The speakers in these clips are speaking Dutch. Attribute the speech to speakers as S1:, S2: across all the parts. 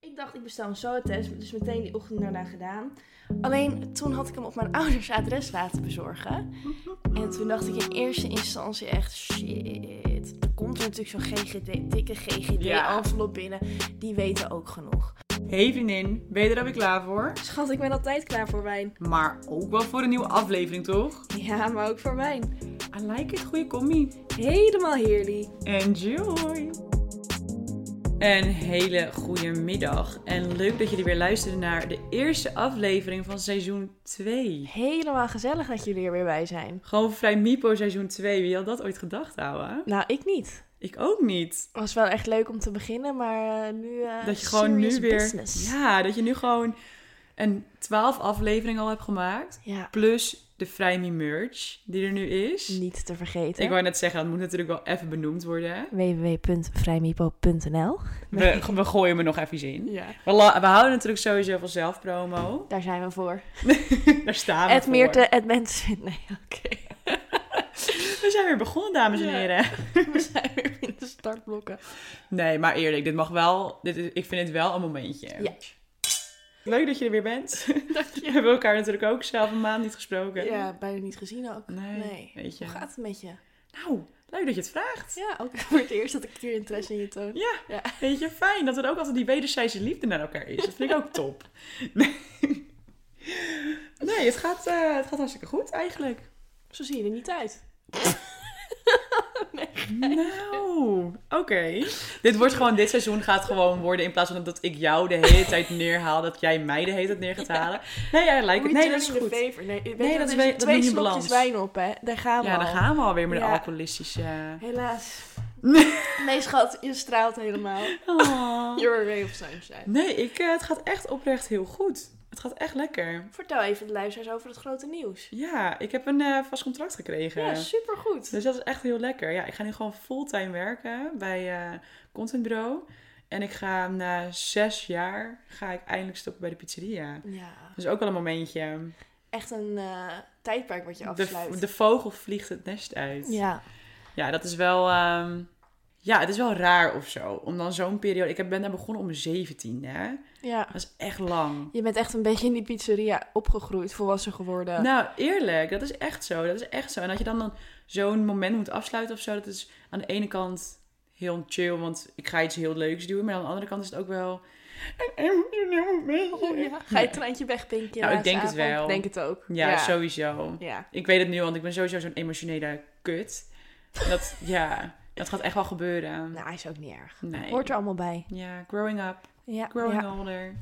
S1: Ik dacht, ik bestel een SOA-test, dus meteen die ochtend daarna gedaan. Alleen toen had ik hem op mijn ouders adres laten bezorgen. En toen dacht ik in eerste instantie echt, shit. Er komt natuurlijk zo'n GGD, dikke
S2: Ja.
S1: GGD-envelop binnen. Die weten ook genoeg.
S2: Hey vriendin, ben je er alweer klaar voor?
S1: Schat, ik ben altijd klaar voor wijn.
S2: Maar ook wel voor een nieuwe aflevering, toch?
S1: Ja, maar ook voor wijn.
S2: I like it, goede commie.
S1: Helemaal heerlijk.
S2: Enjoy! Een hele goede middag en leuk dat jullie weer luisteren naar de eerste aflevering van seizoen 2.
S1: Helemaal gezellig dat jullie er weer bij zijn.
S2: Gewoon vrij Mipo seizoen 2, wie had dat ooit gedacht, ouwe?
S1: Nou, ik niet.
S2: Ik ook niet.
S1: was wel echt leuk om te beginnen, maar eh, nu... eh,
S2: Dat je gewoon
S1: serious
S2: nu weer...
S1: business.
S2: Ja, dat je nu gewoon een 12 aflevering al hebt gemaakt.
S1: Ja,
S2: Plus de Vrijmie merch die er nu is.
S1: niet te vergeten.
S2: Ik wou net zeggen, dat moet natuurlijk wel even benoemd worden. hè?
S1: www.vrijmipo.nl
S2: We, we gooien hem er nog even in.
S1: Ja.
S2: We, la- we houden natuurlijk sowieso van zelfpromo.
S1: Daar zijn we voor.
S2: Daar staan we
S1: Het
S2: voor.
S1: Meerte, het mensen. Nee, oké.
S2: We zijn weer begonnen, dames en
S1: Ja.
S2: heren.
S1: We zijn weer in de startblokken.
S2: Nee, maar eerlijk, dit mag wel. Dit is, ik vind het wel een momentje.
S1: Ja.
S2: Leuk dat je er weer bent.
S1: Dank
S2: We hebben elkaar natuurlijk ook zelf een maand niet gesproken.
S1: Ja, bijna niet gezien ook.
S2: Nee,
S1: Nee.
S2: Weet je.
S1: Hoe gaat het met je?
S2: Nou, leuk dat je het vraagt.
S1: Ja, ook voor het eerst dat ik hier interesse in je toon.
S2: Ja,
S1: Ja.
S2: weet je, fijn dat er ook altijd die wederzijdse liefde naar elkaar is. Dat vind ik ook top. Nee, het gaat, eh, het gaat hartstikke goed eigenlijk.
S1: Zo zie je er niet uit.
S2: Nou, oké. Dit wordt gewoon, dit seizoen gaat gewoon worden in plaats van dat ik jou de hele tijd neerhaal, dat jij mij de hele tijd neer gaat halen. Nee, jij lijkt het. Nee, dat is
S1: Returning the
S2: goed.
S1: favor. Nee, weet
S2: Nee,
S1: je
S2: dat
S1: wel,
S2: is
S1: er
S2: we-
S1: zitten
S2: dat
S1: twee
S2: moet niet in
S1: slokjes
S2: balans.
S1: wijn op, hè? Daar gaan we
S2: Ja,
S1: al.
S2: dan gaan we alweer met de
S1: Ja.
S2: alcoholistische.
S1: Helaas. Nee, schat, je straalt helemaal.
S2: Oh.
S1: You're a ray of sunshine.
S2: Nee, ik, eh, het gaat echt oprecht heel goed. Het gaat echt lekker.
S1: Vertel even de luisteraars over het grote nieuws.
S2: Ja, ik heb een eh, vast contract gekregen.
S1: Ja, supergoed.
S2: Dus dat is echt heel lekker. Ja, ik ga nu gewoon fulltime werken bij eh contentbureau. En ik ga na zes jaar ga ik eindelijk stoppen bij de pizzeria.
S1: Ja,
S2: Dat is ook wel een momentje.
S1: echt een eh, tijdperk wat je afsluit.
S2: De, de vogel vliegt het nest uit. Ja,
S1: Ja,
S2: dat is wel... ehm, ja, het is wel raar of zo. Om dan zo'n periode... Ik heb- ben daar begonnen om mijn 17, hè.
S1: ja.
S2: Dat is echt lang.
S1: Je bent echt een beetje in die pizzeria opgegroeid, volwassen geworden.
S2: Nou, eerlijk. Dat is echt zo. Dat is echt zo. En dat je dan, dan zo'n moment moet afsluiten of zo... Dat is aan de ene kant heel chill, want ik ga iets heel leuks doen. Maar aan de andere kant is het ook wel... Een emotioneel momentje.
S1: Oh, Ja, Ga je het treintje wegpinken?
S2: Nou, ik
S1: laatste
S2: denk het
S1: avond?
S2: wel.
S1: Ik denk het ook.
S2: Ja, sowieso.
S1: Ja.
S2: Ik weet het nu, want ik ben sowieso zo'n emotionele kut. Dat, ja, dat gaat echt wel gebeuren.
S1: Nou, is ook niet erg.
S2: Nee.
S1: Hoort er allemaal bij.
S2: Ja, growing up,
S1: Ja,
S2: growing
S1: ja.
S2: older.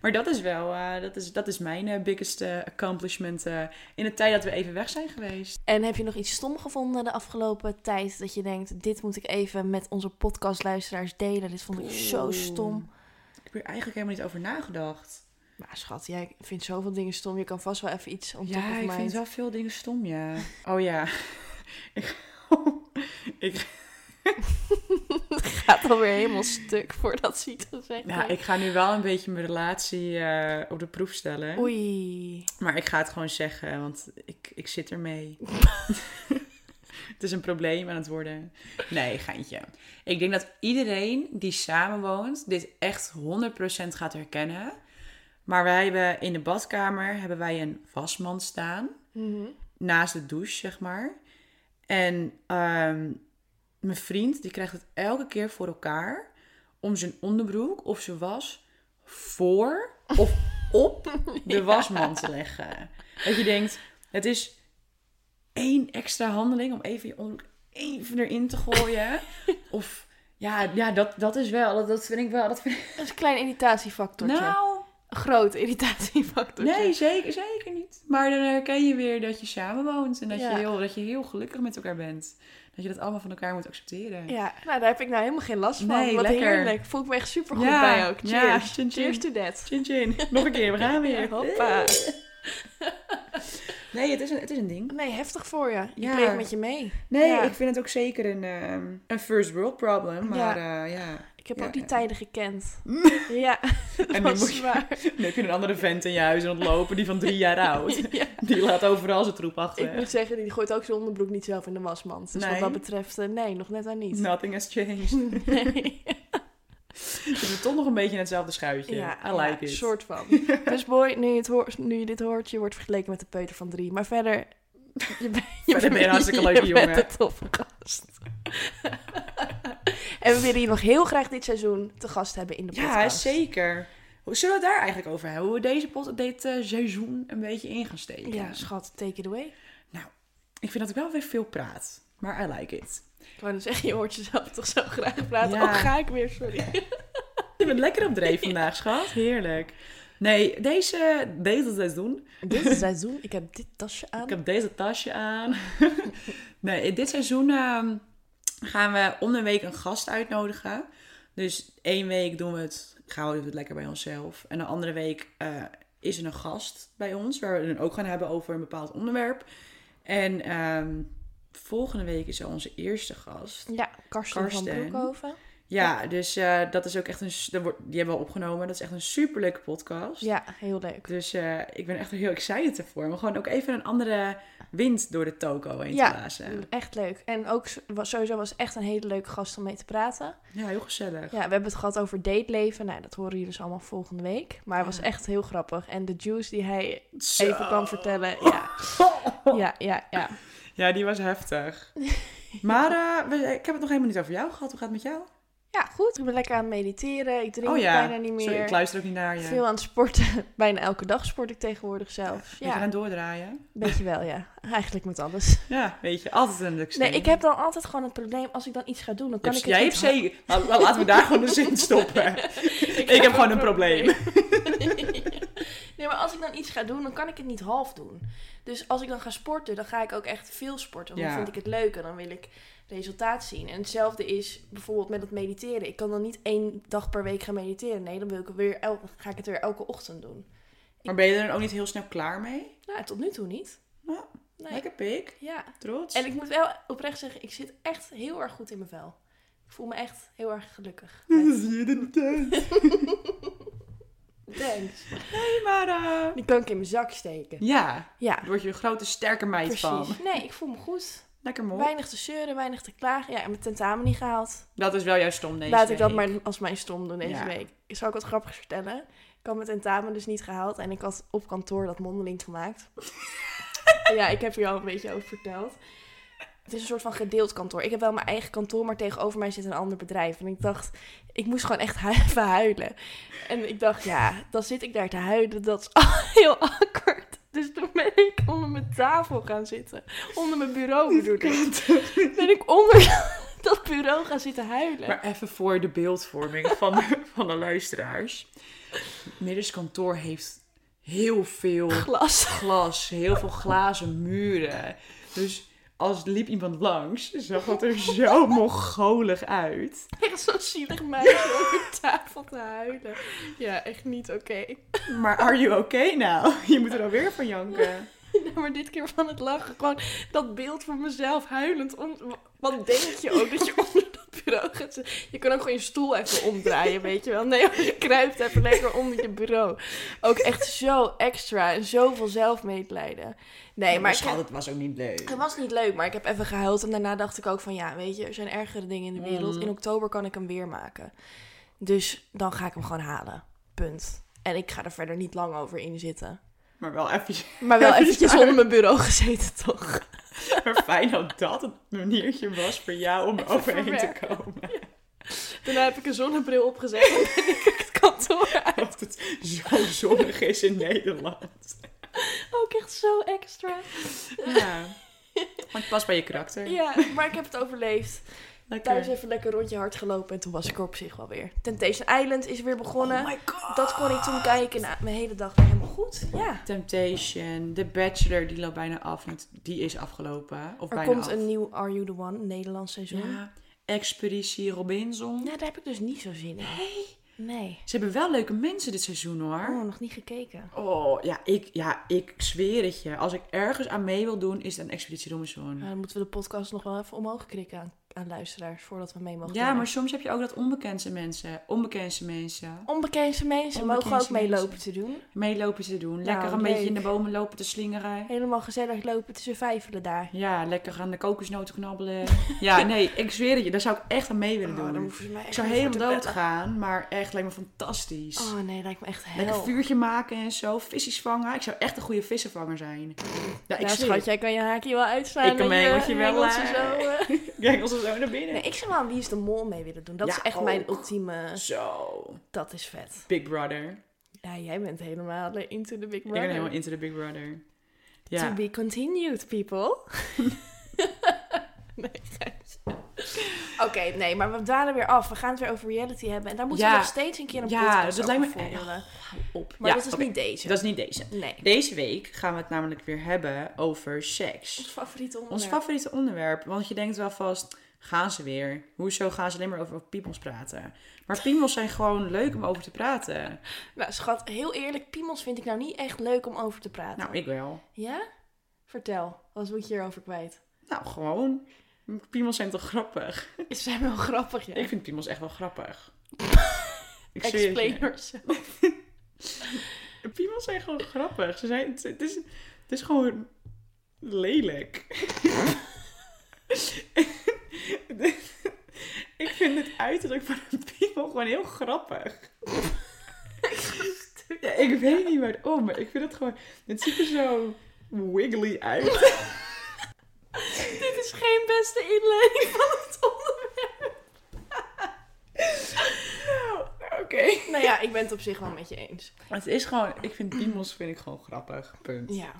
S2: Maar dat is wel, eh, dat, is, dat is mijn eh, biggest eh, accomplishment eh, in de tijd dat we even weg zijn geweest.
S1: En heb je nog iets stom gevonden de afgelopen tijd? Dat je denkt, dit moet ik even met onze podcastluisteraars delen. Dit vond ik zo
S2: Oeh.
S1: stom.
S2: Ik heb hier eigenlijk helemaal niet over nagedacht.
S1: Maar schat, jij vindt zoveel dingen stom. Je kan vast wel even iets on top
S2: ja,
S1: of
S2: ik vind
S1: mind.
S2: wel veel dingen stom, ja. Oh ja. ik, ik,
S1: gaat alweer helemaal stuk voordat ze iets gezegd
S2: nou, ik ga nu wel een beetje mijn relatie eh, op de proef stellen.
S1: Oei.
S2: Maar ik ga het gewoon zeggen, want ik, ik zit ermee. het is een probleem aan het worden. Nee, geintje. Ik denk dat iedereen die samenwoont dit echt 100% gaat herkennen. Maar wij hebben in de badkamer hebben wij een wasmand staan. Naast de douche, zeg maar. En ehm, mijn vriend, die krijgt het elke keer voor elkaar... om zijn onderbroek of zijn was voor of op de wasmand te leggen. Dat je denkt, het is één extra handeling om even je onderbroek even erin te gooien. Of ja, ja dat, dat is wel, dat, dat vind ik wel. Dat vind ik...
S1: Dat is een klein irritatiefactortje.
S2: Nou,
S1: Een groot irritatiefactortje.
S2: nee, zeker, zeker niet. Maar dan herken je weer dat je samen woont en dat,
S1: Ja.
S2: je heel, dat je heel gelukkig met elkaar bent. Dat je dat allemaal van elkaar moet accepteren.
S1: Ja, nou daar heb ik nou helemaal geen last van.
S2: Nee,
S1: Wat
S2: lekker.
S1: heerlijk. Voel ik me echt supergoed
S2: Ja,
S1: bij ook.
S2: ja,
S1: Cheers.
S2: chin, chin.
S1: Cheers to that.
S2: Chin chin, nog een keer, we gaan weer.
S1: Hoppa.
S2: Nee, het is, een, het is een ding.
S1: Nee, heftig voor je. Je
S2: Ja.
S1: breekt met je mee.
S2: Nee,
S1: Ja.
S2: ik vind het ook zeker een, ehm, een first world problem. Maar eh, ja.
S1: Ik heb
S2: Ja,
S1: ook die
S2: ja.
S1: tijden gekend. ja, dat
S2: nu
S1: was
S2: moet je-
S1: zwaar.
S2: Dan heb je een andere vent in je huis rondlopen die van drie jaar oud.
S1: Ja.
S2: Die laat overal zijn troep
S1: Ik
S2: achter.
S1: moet zeggen, die gooit ook zijn onderbroek niet zelf in de wasmand. Dus
S2: Nee.
S1: wat dat betreft, eh, nee, nog net aan niet.
S2: Nothing has changed.
S1: Nee.
S2: Dus we toch nog een beetje in hetzelfde schuitje. I like
S1: een
S2: it.
S1: soort van. Dus boy, nu je, het hoort, nu je dit hoort, je wordt vergeleken met de peuter van drie. Maar verder... Je, bent-
S2: Verder ben je een hartstikke leuke
S1: je
S2: jongen.
S1: bent een toffe gast. en we willen je nog heel graag dit seizoen te gast hebben in de
S2: Ja,
S1: podcast.
S2: zeker. Hoe- Zullen we het daar eigenlijk over hebben? Hoe we deze pot, dit eh, seizoen een beetje in gaan steken?
S1: Ja, schat, take it away.
S2: Ik vind dat ik wel weer veel praat. Maar I like it.
S1: Ik wou dan zeggen, je hoort jezelf toch zo graag praten.
S2: Ja.
S1: Oh, ga ik weer, sorry.
S2: Je bent lekker op dreef vandaag, schat. Heerlijk. Nee, deze, deze seizoen.
S1: Dit seizoen, ik heb dit tasje aan.
S2: Ik heb deze tasje aan. nee, in dit seizoen ehm, gaan we om de week een gast uitnodigen. Dus één week doen we het, houden we het lekker bij onszelf. En de andere week eh, is er een gast bij ons, waar we het dan ook gaan hebben over een bepaald onderwerp. En ehm, volgende week is er onze eerste gast.
S1: Ja, Karsten,
S2: Karsten.
S1: van Broekhoven.
S2: Ja, dus eh, dat is ook echt een. s- dat wordt- Die hebben we al opgenomen. Dat is echt een superleuke podcast.
S1: Ja, heel leuk.
S2: Dus eh, ik ben echt heel excited ervoor. Om gewoon ook even een andere wind door de toko heen
S1: Ja.
S2: te blazen.
S1: Echt leuk. En ook s- was- sowieso was echt een hele leuke gast om mee te praten.
S2: Ja, heel gezellig.
S1: Ja, we hebben het gehad over dateleven. Nou, dat horen jullie dus allemaal volgende week. Maar het was
S2: Ja.
S1: echt heel grappig. En de juice die hij
S2: Zo.
S1: even kan vertellen. Ja, ja, ja. ja.
S2: Ja, die was heftig. Maar eh, we- ik heb het nog helemaal niet over jou gehad. Hoe gaat het met jou?
S1: ja, goed. Ik ben lekker aan het mediteren. Ik drink
S2: oh ja.
S1: bijna niet
S2: Sorry,
S1: meer.
S2: ik luister ook niet naar je.
S1: Veel aan het sporten. bijna elke dag sport ik tegenwoordig zelfs.
S2: Beetje aan
S1: Ja,
S2: het doordraaien.
S1: weet je wel, ja. Eigenlijk met alles.
S2: Ja, weet je. Altijd een luxe.
S1: Nee, ik heb dan altijd gewoon het probleem, als ik dan iets ga doen, dan kan ik het
S2: Jij hebt
S1: niet
S2: zeker... Nou, Laten we daar gewoon de zin stoppen. Ik heb gewoon een probleem.
S1: nee, maar als ik dan iets ga doen, dan kan ik het niet half doen. Dus als ik dan ga sporten, dan ga ik ook echt veel sporten. Want
S2: Ja.
S1: dan vind ik het leuk en dan wil ik resultaat zien. En hetzelfde is bijvoorbeeld met het mediteren. Ik kan dan niet één dag per week gaan mediteren. Nee, dan wil ik het weer el- ga ik het weer elke ochtend doen.
S2: Maar ben je er dan ook niet heel snel klaar mee?
S1: Nou, tot nu toe niet.
S2: Ja.
S1: Nee.
S2: Lekker pik.
S1: Ja.
S2: Trots.
S1: En ik moet wel oprecht zeggen, ik zit echt heel erg goed in mijn vel. Ik voel me echt heel erg gelukkig.
S2: Dat zie je er niet uit.
S1: Thanks.
S2: Nee, maar... eh,
S1: Die kan ik in mijn zak steken.
S2: Ja,
S1: Ja,
S2: daar word je een grote sterke meid van.
S1: precies. Nee, ik voel me goed.
S2: Lekker mooi.
S1: Weinig te zeuren, weinig te klagen. Ja, en mijn tentamen niet gehaald.
S2: Dat is wel juist stom deze
S1: Laat ik dat
S2: week.
S1: maar als mijn stom doen deze
S2: Ja.
S1: week. Zal ik wat grappigs vertellen? Ik had mijn tentamen dus niet gehaald. En ik had op kantoor dat mondeling gemaakt. ja, ik heb hier al een beetje over verteld. Het is een soort van gedeeld kantoor. Ik heb wel mijn eigen kantoor, maar tegenover mij zit een ander bedrijf. En ik dacht, ik moest gewoon echt hu- even huilen. En ik dacht, ja, dan zit ik daar te huilen. Dat is heel awkward. Dus toen ben ik onder mijn tafel gaan zitten. Onder mijn bureau bedoel ik. Ben ik onder dat bureau gaan zitten huilen.
S2: Maar even voor de beeldvorming van, van de luisteraars. Middels kantoor heeft heel veel
S1: glas.
S2: glas, heel veel glazen muren. Dus als liep iemand langs, zag dat er zo mongolig uit.
S1: Echt zo'n zielig meisje op de tafel te huilen. Ja, echt niet oké.
S2: Maar are you okay now? Je moet er alweer van janken.
S1: Nou, maar dit keer van het lachen. Gewoon dat beeld van mezelf huilend. Om... Wat denk je ook dat je onder dat bureau gaat zitten? Je kan ook gewoon je stoel even omdraaien, weet je wel. Nee, hoor, je kruipt even lekker onder je bureau. Ook echt zo extra en zoveel zelfmedelijden. Nee, maar ik
S2: schat,
S1: heb-
S2: het was ook niet leuk.
S1: het was niet leuk, maar ik heb even gehuild. En daarna dacht ik ook van, ja, weet je, er zijn ergere dingen in de wereld.
S2: Mm.
S1: In oktober kan ik hem weer maken. Dus dan ga ik hem gewoon halen. Punt. En ik ga er verder niet lang over in zitten.
S2: Maar wel even,
S1: Maar wel
S2: Ja,
S1: eventjes
S2: bizar.
S1: onder mijn bureau gezeten, toch?
S2: maar fijn dat dat het maniertje was voor jou om
S1: Even
S2: overheen te
S1: verwerken.
S2: komen.
S1: Daarna heb ik een zonnebril opgezet en ben ik het kantoor uit.
S2: Dat het zo zonnig is in Nederland.
S1: Ook echt zo extra.
S2: Ja. Maar het past bij je karakter.
S1: Ja, maar ik heb het overleefd.
S2: Lekker.
S1: Thuis even lekker rondje hard gelopen en toen was ik er op zich wel weer. Temptation Island is weer begonnen.
S2: Oh my god.
S1: Dat kon ik toen kijken. Nou, mijn hele dag weer helemaal goed. Ja.
S2: Temptation, The Bachelor, die loopt bijna af. want Die is afgelopen. Of
S1: Er
S2: bijna
S1: komt
S2: af.
S1: een nieuw Are You The One, Nederlands seizoen. Ja.
S2: Ja. Expeditie Robinson.
S1: daar heb ik dus niet zo zin in. Nee? Nee.
S2: Ze hebben wel leuke mensen dit seizoen hoor.
S1: Oh, nog niet gekeken.
S2: Oh, ja ik, ja, ik zweer het je. Als ik ergens aan mee wil doen, is het een Expeditie Robinson.
S1: Nou, dan moeten we de podcast nog wel even omhoog krikken aan, aan luisteraars voordat we mee mogen
S2: Ja,
S1: doen.
S2: maar soms heb je ook dat onbekende mensen, onbekende mensen
S1: Onbekende mensen mogen
S2: Onbekende
S1: ook mee
S2: mensen.
S1: lopen te doen.
S2: meelopen te doen. Lekker een
S1: Nou, leuk.
S2: beetje in de bomen lopen te slingeren.
S1: Helemaal gezellig lopen tussen vijfelen daar.
S2: Ja, lekker aan de kokosnoten knabbelen. ja, nee, ik zweer het je, daar zou ik echt aan mee willen
S1: Oh,
S2: doen.
S1: dan hoeven ze mij echt
S2: ik zou
S1: niet voor
S2: helemaal
S1: te
S2: dood
S1: bellen.
S2: gaan, maar echt lijkt me fantastisch.
S1: Oh nee, lijkt me echt hel.
S2: Lekker vuurtje maken en zo, visjes vangen. Ik zou echt een goede vissenvanger zijn. Ja,
S1: nou,
S2: ik zweer
S1: schat,
S2: het.
S1: jij kan je haakje wel uitslaan.
S2: Ik kan mijn hengeltje wel,
S1: hengeltje
S2: eh,
S1: zo. eh.
S2: Kijk, als we zo naar binnen.
S1: Nee, ik zou wel aan Wie is de Mol mee willen doen. Dat
S2: Ja,
S1: is echt
S2: ook.
S1: mijn ultieme...
S2: Zo,
S1: Dat is vet.
S2: Big Brother.
S1: Ja, jij bent helemaal into the big
S2: Ik
S1: brother.
S2: ben helemaal into the Big Brother.
S1: To
S2: Ja,
S1: be continued, people. nee, geintje. Oké, nee, maar we dwalen weer af. We gaan het weer over reality hebben. En daar moeten
S2: Ja.
S1: we nog steeds een keer een
S2: Ja,
S1: podcast
S2: dat lijkt me
S1: over
S2: echt-
S1: voeren.
S2: op.
S1: Maar
S2: ja,
S1: dat is
S2: oké.
S1: niet deze.
S2: Dat is niet deze.
S1: Nee.
S2: Deze week gaan we het namelijk weer hebben over seks.
S1: Ons favoriete
S2: Ons
S1: onderwerp.
S2: favoriete onderwerp, want je denkt wel vast, gaan ze weer? Hoezo gaan ze alleen maar over, over piemels praten? Maar piemels zijn gewoon leuk om over te praten.
S1: nou, schat, heel eerlijk. Piemels vind ik nou niet echt leuk om over te praten.
S2: Nou, ik wel.
S1: Ja? Vertel. Wat moet je hierover kwijt?
S2: Nou, gewoon. Piemels zijn toch grappig?
S1: Ze zijn wel grappig, ja.
S2: Ik vind piemels echt wel grappig. ik zweer het je.
S1: Explain yourself.
S2: Piemels zijn gewoon grappig. Ze zijn, het, het is, het is gewoon lelijk. ik vind het uiterlijk van een piemel gewoon heel grappig. Ja, ik weet niet waarom, maar ik vind het gewoon... Het ziet er zo wiggly uit.
S1: Dit is geen beste inleiding van het onderwerp.
S2: Nou, oké.
S1: Nou ja, ik ben het op zich wel met je eens.
S2: Het is gewoon... Ik vind piemels vind ik gewoon grappig. Punt.
S1: Ja.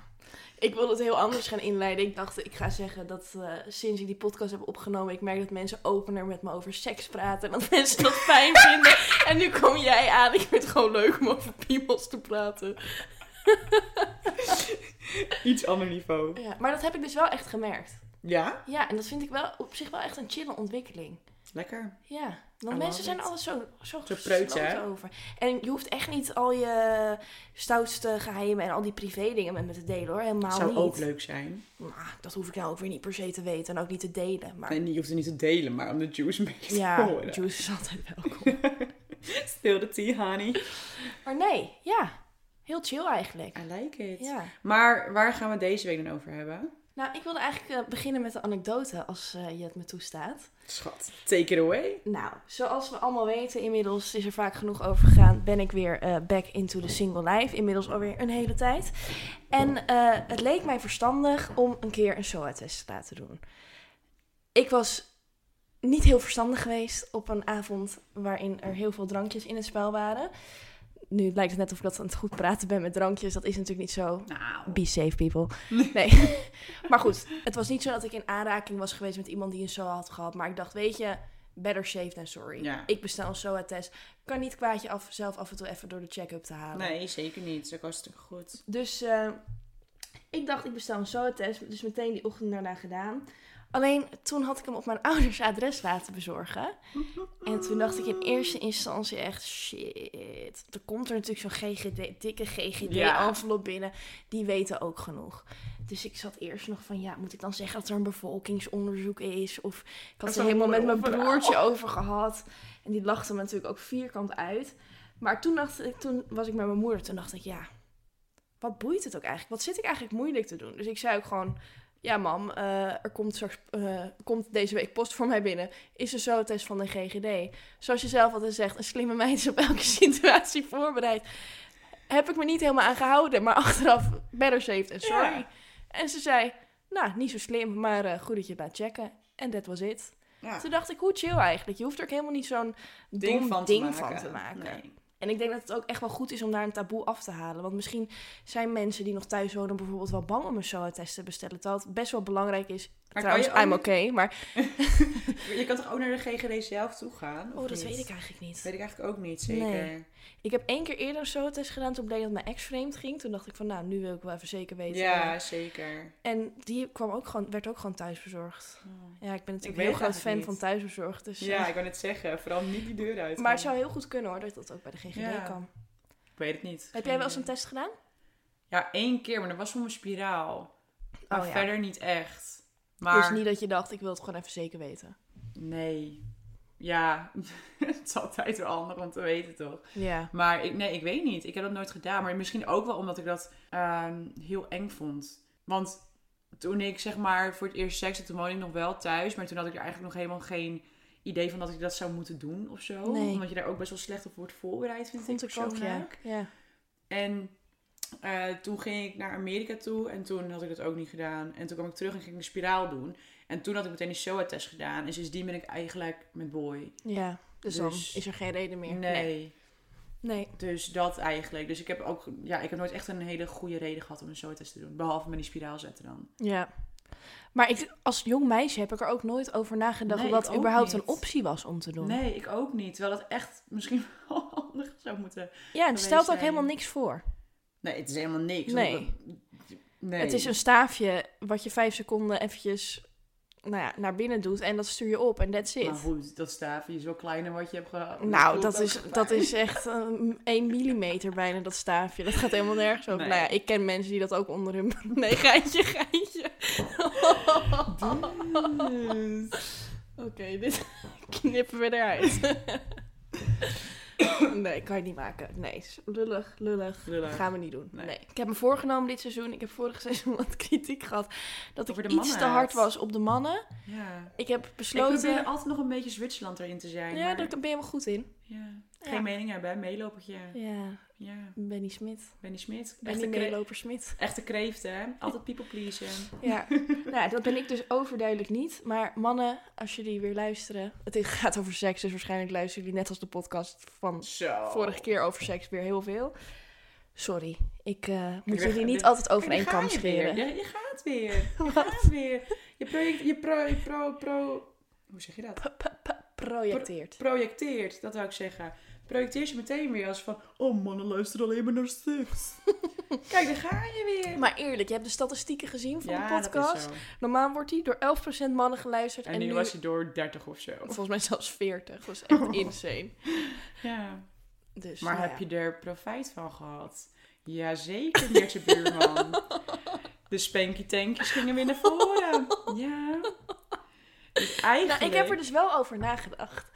S1: Ik wilde het heel anders gaan inleiden. Ik dacht, ik ga zeggen dat eh, sinds ik die podcast heb opgenomen, ik merk dat mensen opener met me over seks praten. En dat mensen dat fijn vinden. En nu kom jij aan. Ik vind het gewoon leuk om over piemels te praten.
S2: Iets ander niveau.
S1: Ja, maar dat heb ik dus wel echt gemerkt.
S2: Ja?
S1: Ja, en dat vind ik wel op zich wel echt een chille ontwikkeling.
S2: Lekker.
S1: Ja,
S2: I
S1: want
S2: love
S1: mensen zijn
S2: it.
S1: alles zo, zo,
S2: Zo preuts, hè?
S1: gesloten over. En je hoeft echt niet al je stoutste geheimen en al die privé dingen met me te delen hoor. Helemaal
S2: Zou
S1: niet.
S2: ook leuk zijn.
S1: Maar dat hoef ik nou ook weer niet per se te weten en ook niet te delen. Maar
S2: En je hoeft het niet te delen, maar om de juice mee te
S1: ja,
S2: horen.
S1: juice is altijd welkom.
S2: Still the tea, honey.
S1: maar nee, ja. Heel chill eigenlijk.
S2: I like it.
S1: Ja.
S2: Maar waar gaan we deze week dan over hebben?
S1: Nou, ik wilde eigenlijk eh, beginnen met een anekdote als eh, je het me toestaat.
S2: Schat, take it away.
S1: Nou, zoals we allemaal weten, inmiddels is er vaak genoeg over gegaan. Ben ik weer eh, back into the single life. Inmiddels alweer een hele tijd. En eh, het leek mij verstandig om een keer een SOA-test te laten doen. Ik was niet heel verstandig geweest op een avond waarin er heel veel drankjes in het spel waren. Nu lijkt het net of ik dat aan het goed praten ben met drankjes. Dat is natuurlijk niet zo.
S2: Nou,
S1: Be safe, people. Nee. maar goed, het was niet zo dat ik in aanraking was geweest met iemand die een SOA had gehad. Maar ik dacht, weet je, better safe than sorry.
S2: Ja.
S1: Ik bestel een SOA-test. Kan niet kwaadje af, zelf af en toe even door de check-up te halen.
S2: nee, zeker niet. Dat was natuurlijk goed.
S1: Dus eh, ik dacht, ik bestel een SOA-test. Dus meteen die ochtend daarna gedaan. Alleen toen had ik hem op mijn ouders adres laten bezorgen. En toen dacht ik in eerste instantie echt, shit. Er komt er natuurlijk zo'n GGD, dikke
S2: Ja.
S1: GGD-envelop binnen. Die weten ook genoeg. Dus ik zat eerst nog van, ja, moet ik dan zeggen dat er een bevolkingsonderzoek is? Of ik had
S2: is
S1: het er helemaal
S2: wel
S1: met
S2: een
S1: mijn
S2: verhaal.
S1: broertje over gehad. En die lachte me natuurlijk ook vierkant uit. Maar toen, dacht ik, toen was ik met mijn moeder, toen dacht ik, ja, wat boeit het ook eigenlijk? Wat zit ik eigenlijk moeilijk te doen? Dus ik zei ook gewoon, ja mam, eh, er komt, straks, eh, komt deze week post voor mij binnen. Is een zootest van de GGD. Zoals je zelf altijd zegt, een slimme meid is op elke situatie voorbereid. Heb ik me niet helemaal aan gehouden, maar achteraf better safe than sorry.
S2: Ja.
S1: En ze zei, nou, niet zo slim, maar eh, goed dat je het laat checken. En dat was het.
S2: Ja.
S1: Toen dacht ik, hoe chill eigenlijk. Je hoeft er ook helemaal niet zo'n Ah. ding, dom van, ding van te maken.
S2: Nee.
S1: En ik denk dat het ook echt wel goed is om daar een taboe af te halen. Want misschien zijn mensen die nog thuis wonen bijvoorbeeld wel bang om een SOA-test te bestellen. Terwijl het best wel belangrijk is.
S2: kan
S1: Trouwens,
S2: je ook
S1: I'm
S2: niet-
S1: okay. Maar,
S2: Je kan toch ook naar de GGD zelf toe gaan?
S1: oh,
S2: of
S1: dat
S2: niet?
S1: weet ik eigenlijk niet.
S2: Weet ik eigenlijk ook niet, zeker.
S1: Nee. Ik heb één keer eerder een SOA-test gedaan. Toen bleek dat mijn ex vreemd ging. Toen dacht ik van, nou, nu wil ik wel even zeker weten.
S2: Ja, zeker.
S1: En die kwam ook gewoon, werd ook gewoon thuisbezorgd. Ja, ik ben
S2: weet
S1: natuurlijk
S2: het
S1: een heel groot
S2: eigenlijk
S1: fan
S2: niet.
S1: van thuisbezorgd. Dus,
S2: Ja,
S1: eh,
S2: ik wou net zeggen. Vooral niet die deur uit.
S1: maar het zou heel goed kunnen hoor, dat dat ook bij de GGD
S2: Ja.
S1: kan.
S2: Ik weet het niet.
S1: Heb jij wel eens een test gedaan?
S2: Ja, één keer, maar dat was om een spiraal. Maar
S1: Oh ja.
S2: verder niet echt. Maar...
S1: Dus niet dat je dacht, ik wil het gewoon even zeker weten.
S2: Nee. Ja, het is altijd wel handig om te weten, toch?
S1: Ja.
S2: Maar ik, nee, ik weet niet. Ik heb dat nooit gedaan. Maar misschien ook wel omdat ik dat ehm, heel eng vond. Want toen ik zeg maar voor het eerst seks had, toen woonde ik nog wel thuis. Maar toen had ik er eigenlijk nog helemaal geen idee van dat ik dat zou moeten doen of zo.
S1: Nee.
S2: Omdat je daar ook best wel slecht op wordt voorbereid, vind
S1: Vond
S2: ik
S1: ik ook, ja.
S2: persoonlijk.
S1: ja.
S2: En eh, toen ging ik naar Amerika toe en toen had ik dat ook niet gedaan. En toen kwam ik terug en ging ik een spiraal doen. En toen had ik meteen die SOA-test gedaan. En sindsdien ben ik eigenlijk met boy.
S1: Ja. Dus, dan
S2: Dus-
S1: is er geen reden meer. Nee.
S2: nee.
S1: Nee.
S2: Dus dat eigenlijk. Dus ik heb ook, ja, ik heb nooit echt een hele goede reden gehad om een zoetest te doen. Behalve met die spiraal zetten dan.
S1: Ja. Maar ik, als jong meisje heb ik er ook nooit over nagedacht
S2: Nee,
S1: of dat
S2: ik ook
S1: überhaupt
S2: niet.
S1: een optie was om te doen.
S2: Nee, ik ook niet. Terwijl dat echt misschien wel handig zou moeten.
S1: Ja, en het
S2: Geweest
S1: stelt ook
S2: zijn.
S1: helemaal niks voor.
S2: Nee, het is helemaal niks.
S1: Nee.
S2: Want dat- nee.
S1: Het is een staafje wat je vijf seconden eventjes nou ja, naar binnen doet en dat stuur je op en that's it.
S2: Maar goed, dat staafje is wel kleiner wat je hebt gehad.
S1: Nou,
S2: voelt
S1: dat
S2: ook
S1: is,
S2: gevaar.
S1: dat is echt ehm, 1 millimeter bijna, dat staafje. Dat gaat helemaal nergens over.
S2: Nee.
S1: Nou ja, ik ken mensen die dat ook onder hun... Nee, geintje, geintje. Oké, dit knippen we eruit. nee, kan je niet maken. Nee, is lullig, lullig.
S2: Lullig.
S1: Gaan we niet doen. Nee.
S2: Nee.
S1: Ik heb me voorgenomen dit seizoen. Ik heb vorig seizoen wat kritiek gehad. Dat
S2: Over
S1: ik
S2: de
S1: iets te
S2: mannenhaat.
S1: hard was op de mannen.
S2: Ja.
S1: Ik heb
S2: Ik
S1: besloten...
S2: probeer altijd nog een beetje Zwitserland erin te zijn.
S1: ja,
S2: maar-
S1: daar ben je helemaal goed in.
S2: ja. Geen
S1: Ja.
S2: mening hebben, hè? meelopertje.
S1: Ja,
S2: Ja.
S1: Benny Smit.
S2: Benny Smit.
S1: Benny
S2: Echte, kre-
S1: Meeloper Smit.
S2: echte kreeft, hè? Altijd people pleasen.
S1: Ja. nou, ja, dat ben ik dus overduidelijk niet. Maar mannen, als jullie weer luisteren. Het gaat over seks, dus waarschijnlijk luisteren jullie net als de podcast van
S2: Zo.
S1: vorige keer over seks weer heel veel. Sorry, ik eh, moet
S2: weer-
S1: jullie niet
S2: weer-
S1: altijd over één
S2: Kijk, daar
S1: kam
S2: ga je weer.
S1: scheren.
S2: Je, je gaat weer. Je gaat weer. Je, project, je, pro, je pro, pro... Hoe zeg je dat?
S1: Projecteert.
S2: Projecteert, dat wou ik zeggen. Projecteert je meteen weer als van... Oh, mannen luisteren alleen maar naar seks. Kijk, daar ga je weer.
S1: Maar eerlijk, je hebt de statistieken gezien van de
S2: dat is
S1: podcast.
S2: zo.
S1: Normaal wordt die door 11% mannen geluisterd. En,
S2: En, nu, was je door 30 of zo.
S1: volgens mij zelfs 40. Dat was echt insane.
S2: Ja.
S1: Dus,
S2: Maar
S1: nou
S2: heb
S1: ja.
S2: je er profijt van gehad? Jazeker, Meertje Buurman. De spanky tankjes gingen weer naar voren. Ja. Dus eigenlijk...
S1: Nou, ik heb er dus wel over nagedacht.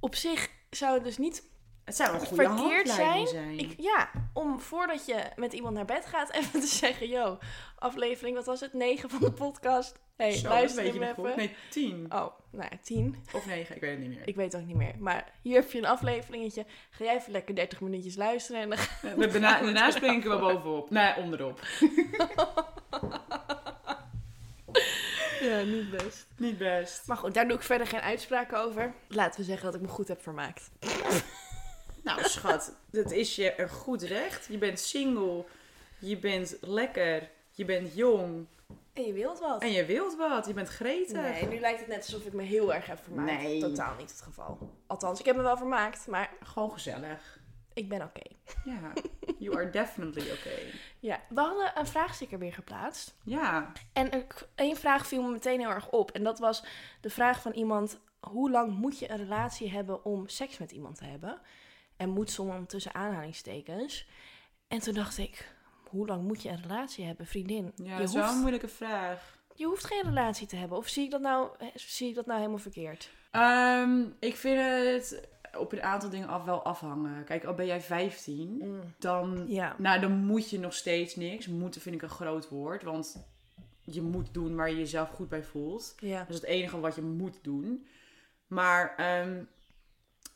S1: Op zich zou het dus niet
S2: Het zou een goede
S1: verkeerd
S2: handleiding zijn.
S1: Ik, ja, om voordat je met iemand naar bed gaat even te zeggen... Yo, aflevering, wat was het? 9 van de podcast. Hey,
S2: Zo,
S1: luister
S2: dat weet
S1: hem
S2: je nog
S1: even.
S2: goed. Nee, tien.
S1: Oh, nou ja, 10.
S2: Of negen, ik weet het niet meer.
S1: Ik weet het ook niet meer. Maar hier heb je een afleveringetje. Ga jij even lekker 30 minuutjes luisteren. En dan...
S2: We- daarna, daarna spring ik er wel bovenop. Nee, onderop.
S1: Ja, niet best.
S2: Niet best.
S1: Maar goed, daar doe ik verder geen uitspraken over. Laten we zeggen dat ik me goed heb vermaakt.
S2: Nou, schat, dat is je een goed recht. Je bent single, je bent lekker, je bent jong
S1: En je wilt wat.
S2: en je wilt wat. Je bent gretig.
S1: Nee, nu lijkt het net alsof ik me heel erg heb vermaakt.
S2: Nee.
S1: Totaal niet het geval. Althans, ik heb me wel vermaakt, maar
S2: Gewoon gezellig.
S1: ik ben oké.
S2: Ja, you are definitely okay.
S1: Ja, we hadden een vraagsticker weer geplaatst.
S2: Ja,
S1: En er k- één vraag viel me meteen heel erg op. En dat was de vraag van iemand: hoe lang moet je een relatie hebben om seks met iemand te hebben? En moet sommige tussen aanhalingstekens. En toen dacht ik: hoe lang moet je een relatie hebben, vriendin?
S2: ja
S1: je,
S2: dat is wel een
S1: hoeft,
S2: moeilijke vraag.
S1: je hoeft geen relatie te hebben. Of zie ik dat nou, eh, zie ik dat nou helemaal verkeerd?
S2: Ehm, ik vind het op een aantal dingen af wel afhangen. Kijk, al ben jij 15, dan
S1: Mm. Ja.
S2: Nou, dan moet je nog steeds niks. Moeten vind ik een groot woord. Want je moet doen waar je jezelf goed bij voelt.
S1: Ja.
S2: Dat is het enige wat je moet doen. Maar, ehm,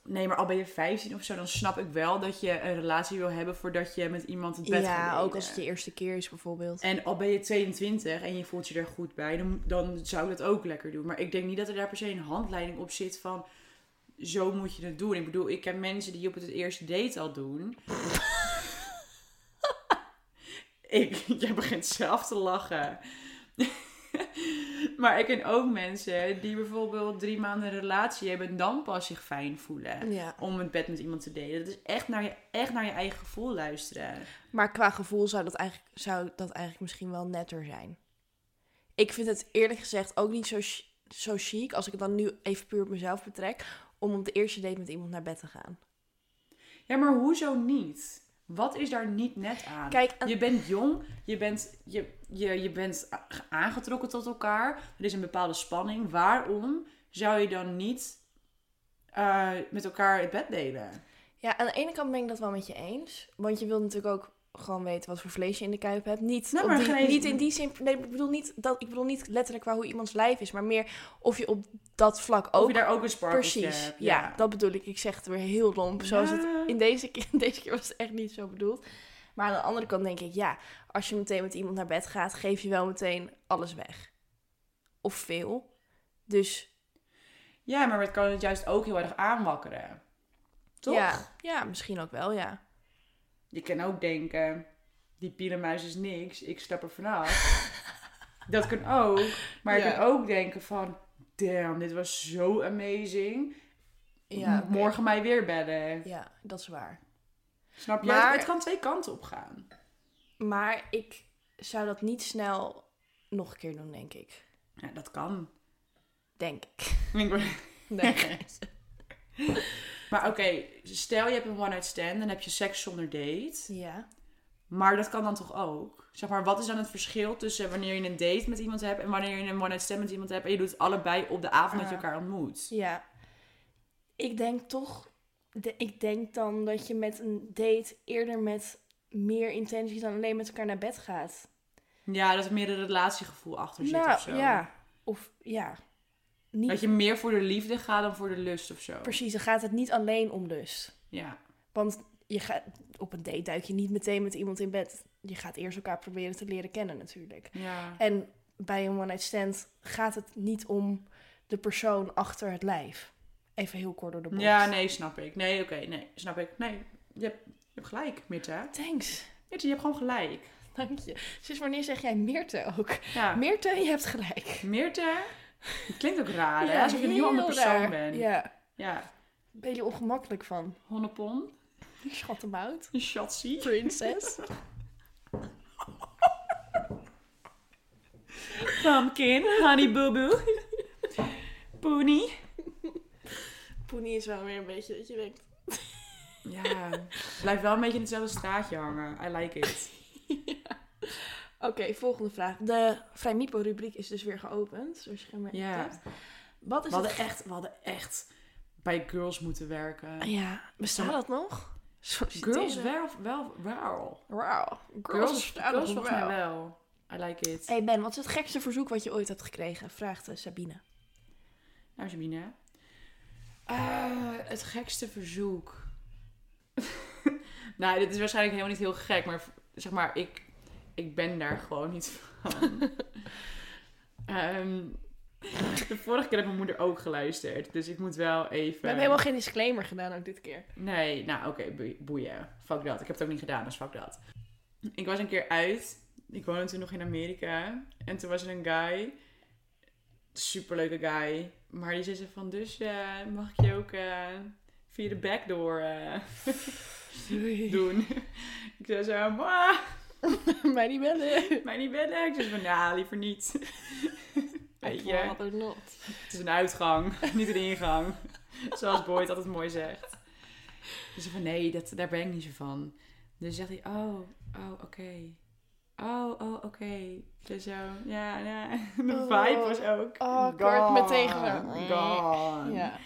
S2: nee, maar al ben je 15 of zo, dan snap ik wel dat je een relatie wil hebben voordat je met iemand het bed gaat
S1: Ja,
S2: delen.
S1: ook als het je eerste keer is bijvoorbeeld.
S2: En al ben je 22 en je voelt je er goed bij, dan, dan zou ik dat ook lekker doen. Maar ik denk niet dat er daar per se een handleiding op zit van zo moet je het doen. Ik bedoel, ik ken mensen die op het eerste date al doen. ik, jij begint zelf te lachen. maar ik ken ook mensen die bijvoorbeeld drie maanden een relatie hebben en dan pas zich fijn voelen.
S1: Ja.
S2: Om het bed met iemand te delen. Dat is echt naar je, echt naar je eigen gevoel luisteren.
S1: Maar qua gevoel zou dat, eigenlijk, zou dat eigenlijk misschien wel netter zijn. Ik vind het eerlijk gezegd ook niet zo, chi- zo chic, als ik het dan nu even puur op mezelf betrek, om op de eerste date met iemand naar bed te gaan.
S2: Ja, maar hoezo niet? Wat is daar niet net aan?
S1: Kijk, een-
S2: Je bent jong, je bent, je, je, je bent a- aangetrokken tot elkaar. Er is een bepaalde spanning. Waarom zou je dan niet eh, met elkaar het bed delen?
S1: Ja, aan de ene kant ben ik dat wel met je eens. Want je wilt natuurlijk ook gewoon weten wat voor vlees je in de kuip hebt. Niet,
S2: Nou,
S1: op
S2: maar
S1: die-
S2: geen-
S1: niet in die zin. Nee, ik bedoel niet, dat, ik bedoel niet letterlijk qua hoe iemands lijf is, maar meer of je op dat vlak
S2: of
S1: ook.
S2: je daar ook een sparkeltje
S1: Precies.
S2: hebt?
S1: ja. dat bedoel ik. Ik zeg het weer heel lomp. Zoals het
S2: Ja.
S1: in deze, keer- in deze keer was het echt niet zo bedoeld. Maar aan de andere kant denk ik, ja, als je meteen met iemand naar bed gaat, geef je wel meteen alles weg. Of veel. Dus
S2: Ja, maar het kan het juist ook heel erg aanwakkeren. Toch?
S1: Ja, ja, misschien ook wel, ja.
S2: Je kan ook denken, die pielenmuis is niks, ik stap er vanaf. dat kan ook. Maar je
S1: Ja.
S2: kan ook denken van, damn, dit was zo amazing.
S1: ja oké.
S2: Morgen mij weer bellen.
S1: Ja, dat is waar.
S2: Snap je?
S1: Maar-
S2: Het kan twee kanten op gaan.
S1: Maar ik zou dat niet snel nog een keer doen, denk ik.
S2: Ja, dat kan.
S1: Denk ik.
S2: Ik ben-
S1: Nee.
S2: Maar oké, stel je hebt een one-night stand, dan heb je seks zonder date.
S1: ja.
S2: Maar dat kan dan toch ook? Zeg maar, wat is dan het verschil tussen wanneer je een date met iemand hebt en wanneer je een one-night stand met iemand hebt en je doet het allebei op de avond dat je
S1: Ah.
S2: elkaar ontmoet?
S1: Ja. Ik denk toch... de- ik denk dan dat je met een date eerder met meer intenties dan alleen met elkaar naar bed gaat.
S2: Ja, dat er meer een relatiegevoel achter zit of zo.
S1: Nou, ja. Of ja. Niet
S2: Dat je meer voor de liefde gaat dan voor de lust of zo.
S1: Precies, dan gaat het niet alleen om lust.
S2: Ja.
S1: Want je gaat, op een date duik je niet meteen met iemand in bed. Je gaat eerst elkaar proberen te leren kennen natuurlijk.
S2: ja.
S1: En bij een one-night stand gaat het niet om de persoon achter het lijf. Even heel kort door de bocht.
S2: Ja, nee, snap ik. Nee, oké, nee, snap ik. Nee, je hebt, je hebt gelijk, Mirta.
S1: Thanks,
S2: Mirta, je hebt gewoon gelijk.
S1: dank je. Sinds wanneer zeg jij Meerte ook?
S2: Ja.
S1: Meerte, je hebt gelijk.
S2: Meerte. Het klinkt ook raar, hè? Alsof je een heel ander persoon
S1: raar.
S2: bent. Ja.
S1: Ja, ben je ongemakkelijk van.
S2: Honnepon.
S1: Schat hem uit.
S2: Een chatsie.
S1: Princess.
S2: Pumpkin. Honey boo boo. Pony.
S1: Poenie is wel weer een beetje dat je denkt...
S2: Ja. Blijf wel een beetje in hetzelfde straatje hangen. I like it.
S1: Oké, volgende vraag. De Vrij Mipo rubriek is dus weer geopend, zoals je gemerkt
S2: Ja.
S1: hebt. Wat is
S2: We hadden
S1: het...
S2: echt, we hadden echt bij girls moeten werken.
S1: Ja, bestaat dat nog?
S2: Girls
S1: Solliciteren?
S2: wel, wel, wel.
S1: Wauw.
S2: Girls,
S1: Girls,
S2: girls,
S1: staan nog
S2: volgens
S1: wel.
S2: mij wel. I like it.
S1: Hey Ben, wat is het gekste verzoek wat je ooit hebt gekregen? Vraagt eh, Sabine.
S2: Nou, Sabine. Eh, het gekste verzoek. nou, dit is waarschijnlijk helemaal niet heel gek, maar v- zeg maar, ik, ik ben daar gewoon niet van. Ehm, de vorige keer heeft mijn moeder ook geluisterd, dus ik moet wel even.
S1: We hebben helemaal geen disclaimer gedaan ook dit keer.
S2: Nee, nou oké, boe- boeien. Fuck dat. Ik heb het ook niet gedaan, dus fuck dat. Ik was een keer uit. Ik woonde toen nog in Amerika. En toen was er een guy. Superleuke guy. Maar die zei ze van, dus eh, mag ik je ook eh, via de backdoor eh doen? ik zei zo, "Ma,
S1: maar die bellen.
S2: mij niet bellen. Ik zei van, nou, liever niet. Weet je.
S1: er not.
S2: Het is een uitgang, niet een ingang. Zoals Boyd altijd mooi zegt. Dus ik van nee, dat, daar ben ik niet zo van. Dus zegt hij, oh, oh, oké. Oh, oh, oké. Dus zo, ja, ja. De
S1: Oh.
S2: vibe was ook.
S1: Oh, ik word
S2: gone,
S1: meteen gedaan.
S2: Gone. Ja.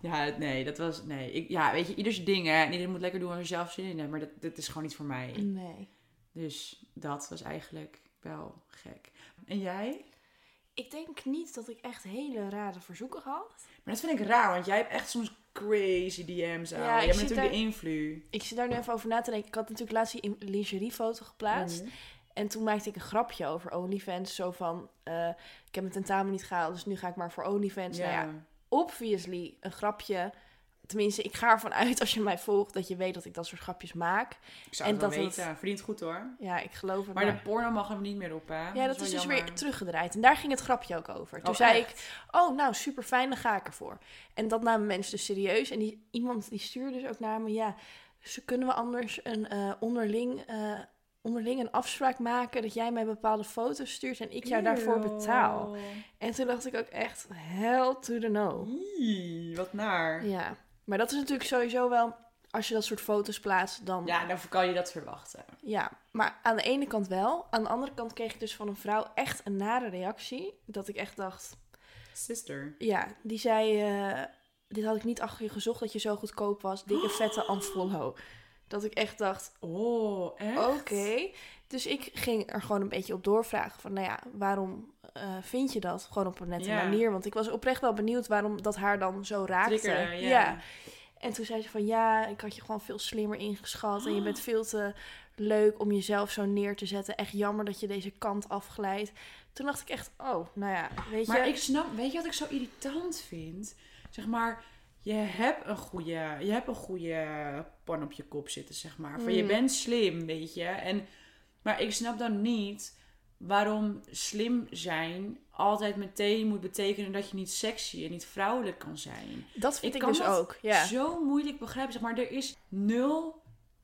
S1: Ja, oh.
S2: nee, dat was, nee. Ik, ja, weet je, ieders ding, hè. En iedereen moet lekker doen waar ze zelf zin in hebben. Maar dat, dat is gewoon niet voor mij.
S1: Nee.
S2: Dus dat was eigenlijk wel gek. En jij?
S1: Ik denk niet dat ik echt hele rare verzoeken had.
S2: Maar dat vind ik raar, want jij hebt echt soms crazy DM's aan.
S1: Ja,
S2: jij
S1: ik
S2: bent
S1: zit
S2: natuurlijk
S1: daar-
S2: de invloed.
S1: Ik zit daar nu even over na te denken. Ik had natuurlijk laatst die lingeriefoto
S2: Mhm.
S1: geplaatst. En toen maakte ik een grapje over OnlyFans. Zo van, eh, ik heb mijn tentamen niet gehaald, dus nu ga ik maar voor OnlyFans. Nou ja, obviously een grapje. Tenminste, ik ga ervan uit als je mij volgt dat je weet dat ik dat soort grapjes maak.
S2: ik zou
S1: en
S2: het wel
S1: dat het-
S2: weten. Verdient goed hoor.
S1: Ja, ik geloof het.
S2: Maar
S1: maar.
S2: de porno mag hem niet meer op, hè?
S1: Ja, dat
S2: wel
S1: is dus
S2: jammer.
S1: weer teruggedraaid. En daar ging het grapje ook over. Toen
S2: Oh,
S1: zei
S2: echt?
S1: ik, oh nou super fijn, dan ga ik ervoor. En dat namen mensen dus serieus. En die, iemand die stuurde dus ook naar me, ja, ze kunnen we anders een eh, onderling, eh, onderling een afspraak maken dat jij mij bepaalde foto's stuurt en ik jou daarvoor
S2: Eeuw.
S1: betaal. En toen dacht ik ook echt, hell to the no.
S2: Ie, wat naar. Ja.
S1: Ja, maar dat is natuurlijk sowieso wel, als je dat soort foto's plaatst, dan... Ja.
S2: dan kan je dat verwachten.
S1: maar aan de ene kant wel. Aan de andere kant kreeg ik dus van een vrouw echt een nare reactie. Dat ik echt dacht,
S2: Sister.
S1: Ja, die zei... eh, dit had ik niet achter je gezocht dat je zo goedkoop was. Dikke vette unfollow. Dat ik echt dacht,
S2: Oh, echt?
S1: oké. Dus ik ging er gewoon een beetje op doorvragen. Van nou ja, waarom eh, vind je dat? Gewoon op een nette
S2: Ja.
S1: manier. Want ik was oprecht wel benieuwd waarom dat haar dan zo raakte.
S2: Trigger, ja.
S1: En toen zei ze van ja, ik had je gewoon veel slimmer ingeschat. En je bent veel te leuk om jezelf zo neer te zetten. Echt jammer dat je deze kant afglijdt. Toen dacht ik echt, oh, nou ja, weet je.
S2: Maar ik snap, weet je wat ik zo irritant vind? Zeg maar, je hebt een goede, je hebt een goede pan op je kop zitten, zeg maar. Van je
S1: Mm.
S2: bent slim, weet je. En, maar ik snap dan niet waarom slim zijn altijd meteen moet betekenen dat je niet sexy en niet vrouwelijk kan zijn.
S1: dat vind
S2: ik
S1: ik,
S2: kan
S1: dus
S2: dat
S1: ook. Ja.
S2: Zo moeilijk begrijpen, zeg maar. Er is nul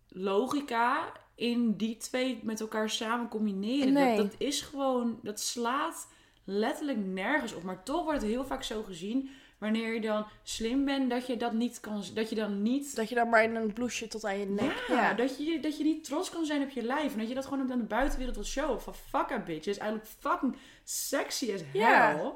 S2: logica in die twee met elkaar samen combineren.
S1: Nee.
S2: Dat, dat is gewoon, dat slaat letterlijk nergens op. Maar toch wordt het heel vaak zo gezien, wanneer je dan slim bent, dat je dat niet kan, dat je dan niet...
S1: Dat je dan maar in een blouseje tot aan je nek.
S2: Ja, Dat, je, dat je niet trots kan zijn op je lijf. En dat je dat gewoon aan de buitenwereld wil showen. Van fuck up bitch. is eigenlijk fucking sexy as hell.
S1: Ja.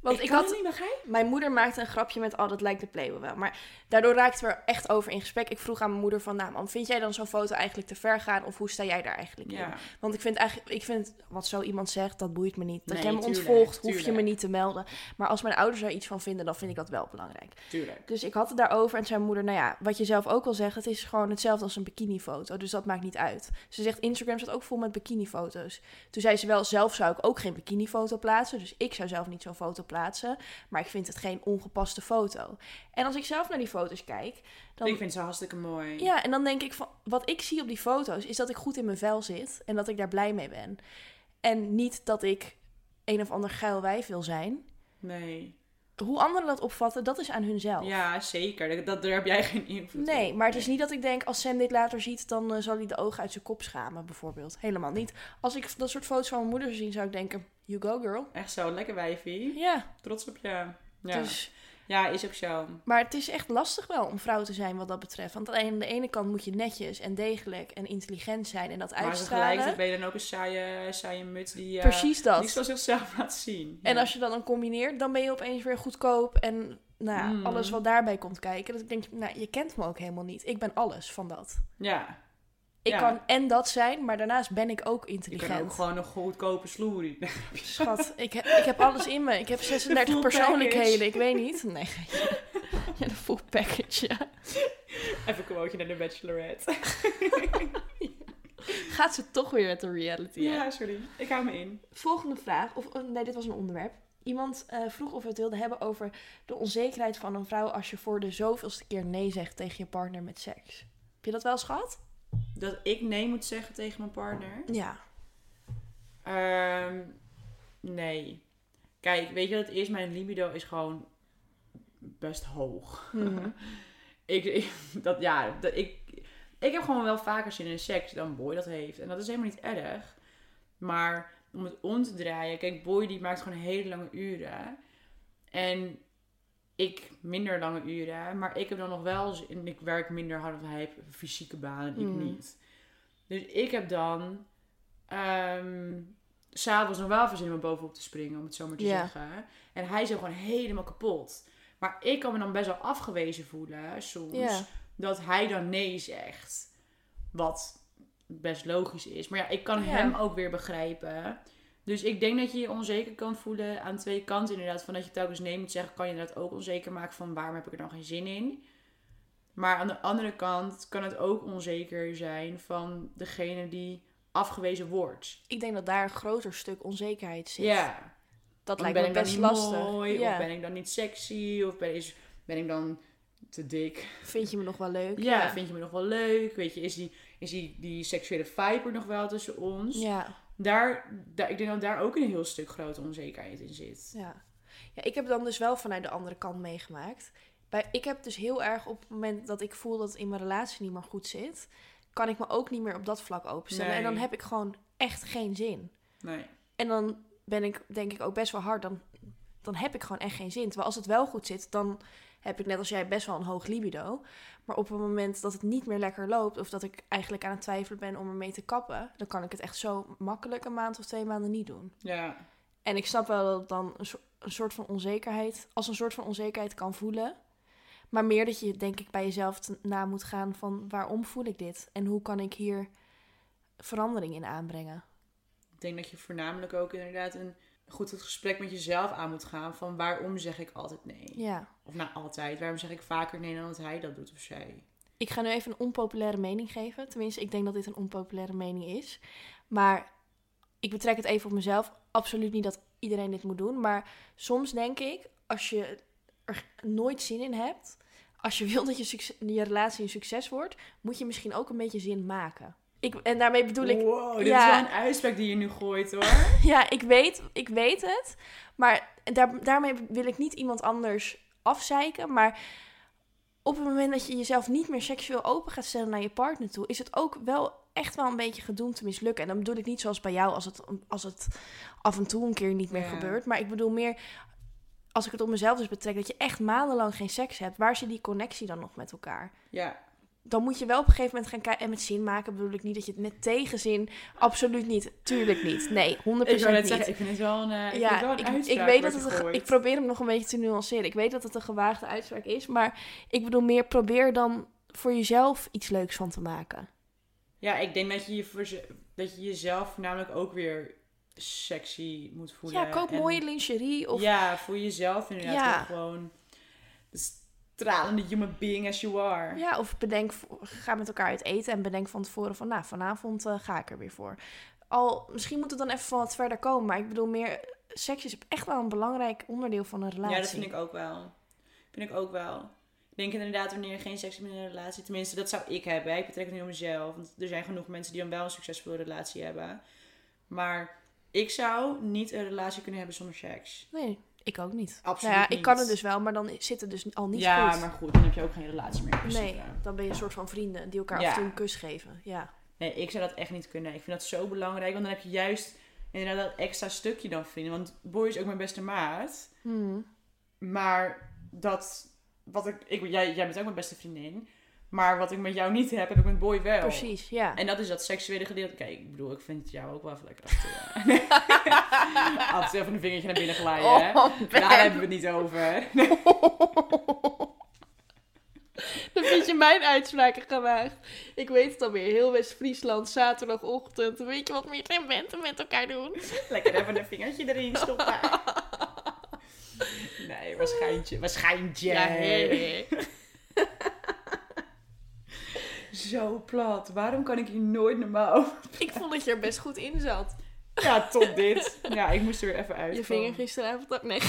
S1: Want
S2: ik,
S1: ik
S2: kan
S1: had
S2: het niet begrijpen.
S1: Mijn moeder maakte een grapje met, oh, dat lijkt de Playboy wel. Maar daardoor raakten we er echt over in gesprek. Ik vroeg aan mijn moeder van, nou, mam, vind jij dan zo'n foto eigenlijk te ver gaan? Of hoe sta jij daar eigenlijk in?
S2: Ja.
S1: Want ik vind eigenlijk, ik vind, wat zo iemand zegt, dat boeit me niet. Dat
S2: Nee,
S1: jij me
S2: tuurlijk,
S1: ontvolgt, hoef je
S2: tuurlijk.
S1: me niet te melden. Maar als mijn ouders er iets van vinden, dan vind ik dat wel belangrijk.
S2: Tuurlijk.
S1: Dus ik had het daarover en zei mijn moeder, nou ja, wat je zelf ook al zegt, het is gewoon hetzelfde als een bikinifoto. Dus dat maakt niet uit. Ze zegt, Instagram staat ook vol met bikinifoto's. Toen zei ze wel, zelf zou ik ook geen bikinifoto plaatsen. Dus ik zou zelf niet zo'n foto plaatsen. Maar ik vind het geen ongepaste foto. En als ik zelf naar die foto's kijk, dan...
S2: Ik vind ze hartstikke mooi.
S1: Ja, en dan denk ik van, wat ik zie op die foto's is dat ik goed in mijn vel zit en dat ik daar blij mee ben. En niet dat ik een of ander geil wijf wil zijn.
S2: Nee.
S1: Hoe anderen dat opvatten, dat is aan hunzelf.
S2: Ja, zeker. Dat, dat- daar heb jij geen invloed op.
S1: Nee, maar het is niet dat ik denk, als Sam dit later ziet, dan eh, zal hij de ogen uit zijn kop schamen, bijvoorbeeld. Helemaal niet. Als ik dat soort foto's van mijn moeder zou zien, zou ik denken, you go girl.
S2: Echt zo, lekker wijfie.
S1: Ja,
S2: Trots op je. Ja,
S1: dus...
S2: ja is ook zo.
S1: Maar het is echt lastig wel om vrouw te zijn wat dat betreft. Want aan de ene kant moet je netjes en degelijk en intelligent zijn en dat
S2: Maar
S1: uitstralen.
S2: tegelijkertijd ben je dan ook een saaie, saaie muts die eh
S1: Precies dat.
S2: niks van zichzelf laat zien.
S1: En
S2: Ja.
S1: als je dat dan combineert, dan ben je opeens weer goedkoop en nou, ja,
S2: Mm.
S1: alles wat daarbij komt kijken. Dat ik denk, nou, je kent me ook helemaal niet. Ik ben alles van dat.
S2: Ja,
S1: Ik
S2: Ja.
S1: kan en dat zijn, maar daarnaast ben ik ook
S2: je kan ook
S1: intelligent.
S2: gewoon een goedkope sloerie.
S1: Schat, ik heb, ik heb alles in me. Ik heb 36
S2: full
S1: persoonlijkheden.
S2: package.
S1: Ik weet niet. Nee. Ja, de full package, ja.
S2: Even een quoteje naar de bachelorette.
S1: Gaat ze toch weer met de reality? hè?
S2: Ja, sorry. Ik hou me in.
S1: Volgende vraag. Of, oh, nee, dit was een onderwerp. Iemand eh, vroeg of we het wilden hebben over de onzekerheid van een vrouw als je voor de zoveelste keer nee zegt tegen je partner met seks. Heb je dat wel eens gehad?
S2: Dat ik nee moet zeggen tegen mijn partner?
S1: Ja.
S2: Ehm, nee. Kijk, weet je wat het is? Mijn libido is gewoon best hoog.
S1: Mhm.
S2: ik, ik- dat, ja, dat, ik, ik heb gewoon wel vaker zin in seks dan Boy dat heeft. En dat is helemaal niet erg. Maar om het om te draaien... Kijk, Boy die maakt gewoon hele lange uren. En ik minder lange uren. Maar ik heb dan nog wel... zin- en Ik werk minder hard, want hij heeft een fysieke baan en ik
S1: Mm.
S2: niet. Dus ik heb dan... ehm, s S'avonds nog wel veel zin om bovenop te springen, om het zo maar te
S1: Ja.
S2: zeggen. En hij is ook gewoon helemaal kapot. Maar ik kan me dan best wel afgewezen voelen soms.
S1: Ja.
S2: Dat hij dan nee zegt. Wat best logisch is. Maar ja, ik kan
S1: Ja.
S2: hem ook weer begrijpen. Dus ik denk dat je je onzeker kan voelen aan twee kanten inderdaad. Van dat je telkens nee moet zeggen, kan je inderdaad ook onzeker maken van waarom heb ik er dan geen zin in. Maar aan de andere kant kan het ook onzeker zijn van degene die afgewezen wordt.
S1: Ik denk dat daar een groter stuk onzekerheid zit.
S2: Ja.
S1: Dat
S2: Want
S1: lijkt me
S2: ben
S1: best
S2: ik dan niet
S1: lastig.
S2: mooi,
S1: ja.
S2: Of ben ik dan niet sexy? Of ben, is, ben ik dan te dik?
S1: Vind je me nog wel leuk?
S2: Ja, vind je me nog wel leuk? Weet je, is die, is die, die seksuele vibe er nog wel tussen ons?
S1: Ja.
S2: Daar, daar, ik denk dat daar ook een heel stuk grote onzekerheid in zit.
S1: Ja. ja, ik heb dan dus wel vanuit de andere kant meegemaakt. Bij, ik heb dus heel erg op het moment dat ik voel dat het in mijn relatie niet meer goed zit, kan ik me ook niet meer op dat vlak openstellen. En dan
S2: Nee.
S1: heb ik gewoon echt geen zin.
S2: Nee.
S1: En dan ben ik denk ik ook best wel hard, dan, dan heb ik gewoon echt geen zin. Terwijl als het wel goed zit, dan heb ik net als jij best wel een hoog libido. Maar op het moment dat het niet meer lekker loopt, of dat ik eigenlijk aan het twijfelen ben om ermee te kappen, dan kan ik het echt zo makkelijk een maand of twee maanden niet doen.
S2: Ja.
S1: En ik snap wel dat het dan een, soort- een soort van onzekerheid, als een soort van onzekerheid kan voelen. Maar meer dat je, denk ik, bij jezelf te- na moet gaan van waarom voel ik dit? En hoe kan ik hier verandering in aanbrengen?
S2: Ik denk dat je voornamelijk ook inderdaad een goed het gesprek met jezelf aan moet gaan. Van waarom zeg ik altijd nee?
S1: Ja.
S2: Of nou altijd, waarom zeg ik vaker nee dan dat hij dat doet of zij?
S1: Ik ga nu even een onpopulaire mening geven. Tenminste, ik denk dat dit een onpopulaire mening is. Maar ik betrek het even op mezelf. Absoluut niet dat iedereen dit moet doen. Maar soms denk ik, als je er nooit zin in hebt. Als je wil dat je, succes- je relatie een succes wordt, moet je misschien ook een beetje zin maken. Ik, en daarmee bedoel ik,
S2: wow, dit
S1: ja.
S2: is wel een uitspraak die je nu gooit hoor.
S1: ja, ik weet, ik weet het. Maar daar, daarmee wil ik niet iemand anders afzeiken. Maar op het moment dat je jezelf niet meer seksueel open gaat stellen naar je partner toe, is het ook wel echt wel een beetje gedoemd te mislukken. En dan bedoel ik niet zoals bij jou, als het, als het af en toe een keer niet meer
S2: Ja.
S1: gebeurt. Maar ik bedoel meer, als ik het op mezelf dus betrek, dat je echt maandenlang geen seks hebt. Waar zit die connectie dan nog met elkaar?
S2: Ja,
S1: dan moet je wel op een gegeven moment gaan kijken. En met zin maken bedoel ik niet dat je het met tegenzin. Absoluut niet. Tuurlijk niet. Nee, 100%
S2: ik zou net
S1: niet.
S2: zeggen, ik vind het wel een, eh, ik vind het wel
S1: ja,
S2: een
S1: ik,
S2: uitspraak.
S1: ik weet dat
S2: wat
S1: het
S2: je
S1: een, ge-
S2: gooit.
S1: Ik probeer hem nog een beetje te nuanceren. Ik weet dat het een gewaagde uitspraak is. Maar ik bedoel meer, probeer dan voor jezelf iets leuks van te maken.
S2: Ja, ik denk dat je, je voor ze- dat je jezelf voornamelijk ook weer sexy moet voelen.
S1: ja, koop
S2: en-
S1: mooie lingerie. Of,
S2: Ja, voor jezelf inderdaad
S1: Ja.
S2: ook gewoon de stralende human being as you are.
S1: Ja, of bedenk, ga met elkaar uit eten en bedenk van tevoren van, nou, vanavond eh, ga ik er weer voor. Al, misschien moet het dan even van wat verder komen, maar ik bedoel meer, eh, seks is echt wel een belangrijk onderdeel van een relatie.
S2: Ja, dat vind ik ook wel. Vind ik ook wel. Ik denk inderdaad wanneer je geen seks hebt in een relatie. Tenminste, dat zou ik hebben. hè. Ik betrek het niet op mezelf. Want er zijn genoeg mensen die dan wel een succesvolle relatie hebben. Maar ik zou niet een relatie kunnen hebben zonder seks.
S1: Nee, ik ook niet.
S2: Absoluut
S1: Nou ja, ik
S2: niet.
S1: kan het dus wel, maar dan zit het dus al niet
S2: ja,
S1: goed.
S2: maar goed, dan heb je ook geen relatie meer in principe.
S1: Nee, dan ben je een soort van vrienden die elkaar
S2: Ja.
S1: af en toe een kus geven. Ja.
S2: Nee, ik zou dat echt niet kunnen. Ik vind dat zo belangrijk, want dan heb je juist inderdaad dat extra stukje dan vrienden. Want Boy is ook mijn beste maat.
S1: Hmm.
S2: Maar dat, wat ik, ik jij, jij bent ook mijn beste vriendin. Maar wat ik met jou niet heb, heb ik met Boy wel.
S1: Precies, ja.
S2: En dat is dat seksuele gedeelte. Kijk, ik bedoel, ik vind jou ook wel even lekker af en toe. Af en toe even een vingertje naar binnen glijden.
S1: Oh,
S2: hè. Daar hebben we het niet over.
S1: Dan vind je mijn uitspraken gewaagd. Ik weet het alweer. Heel West-Friesland, zaterdagochtend. Weet je wat meer geen mensen met elkaar doen?
S2: Lekker even een vingertje erin stoppen. Nee, waarschijntje. Waarschijntje. Zo plat. Waarom kan ik hier nooit normaal over?
S1: Ik vond dat je er best goed in zat.
S2: Ja, tot dit. Ja, ik moest er weer even uit.
S1: Je vinger gisteravond ook... Nee.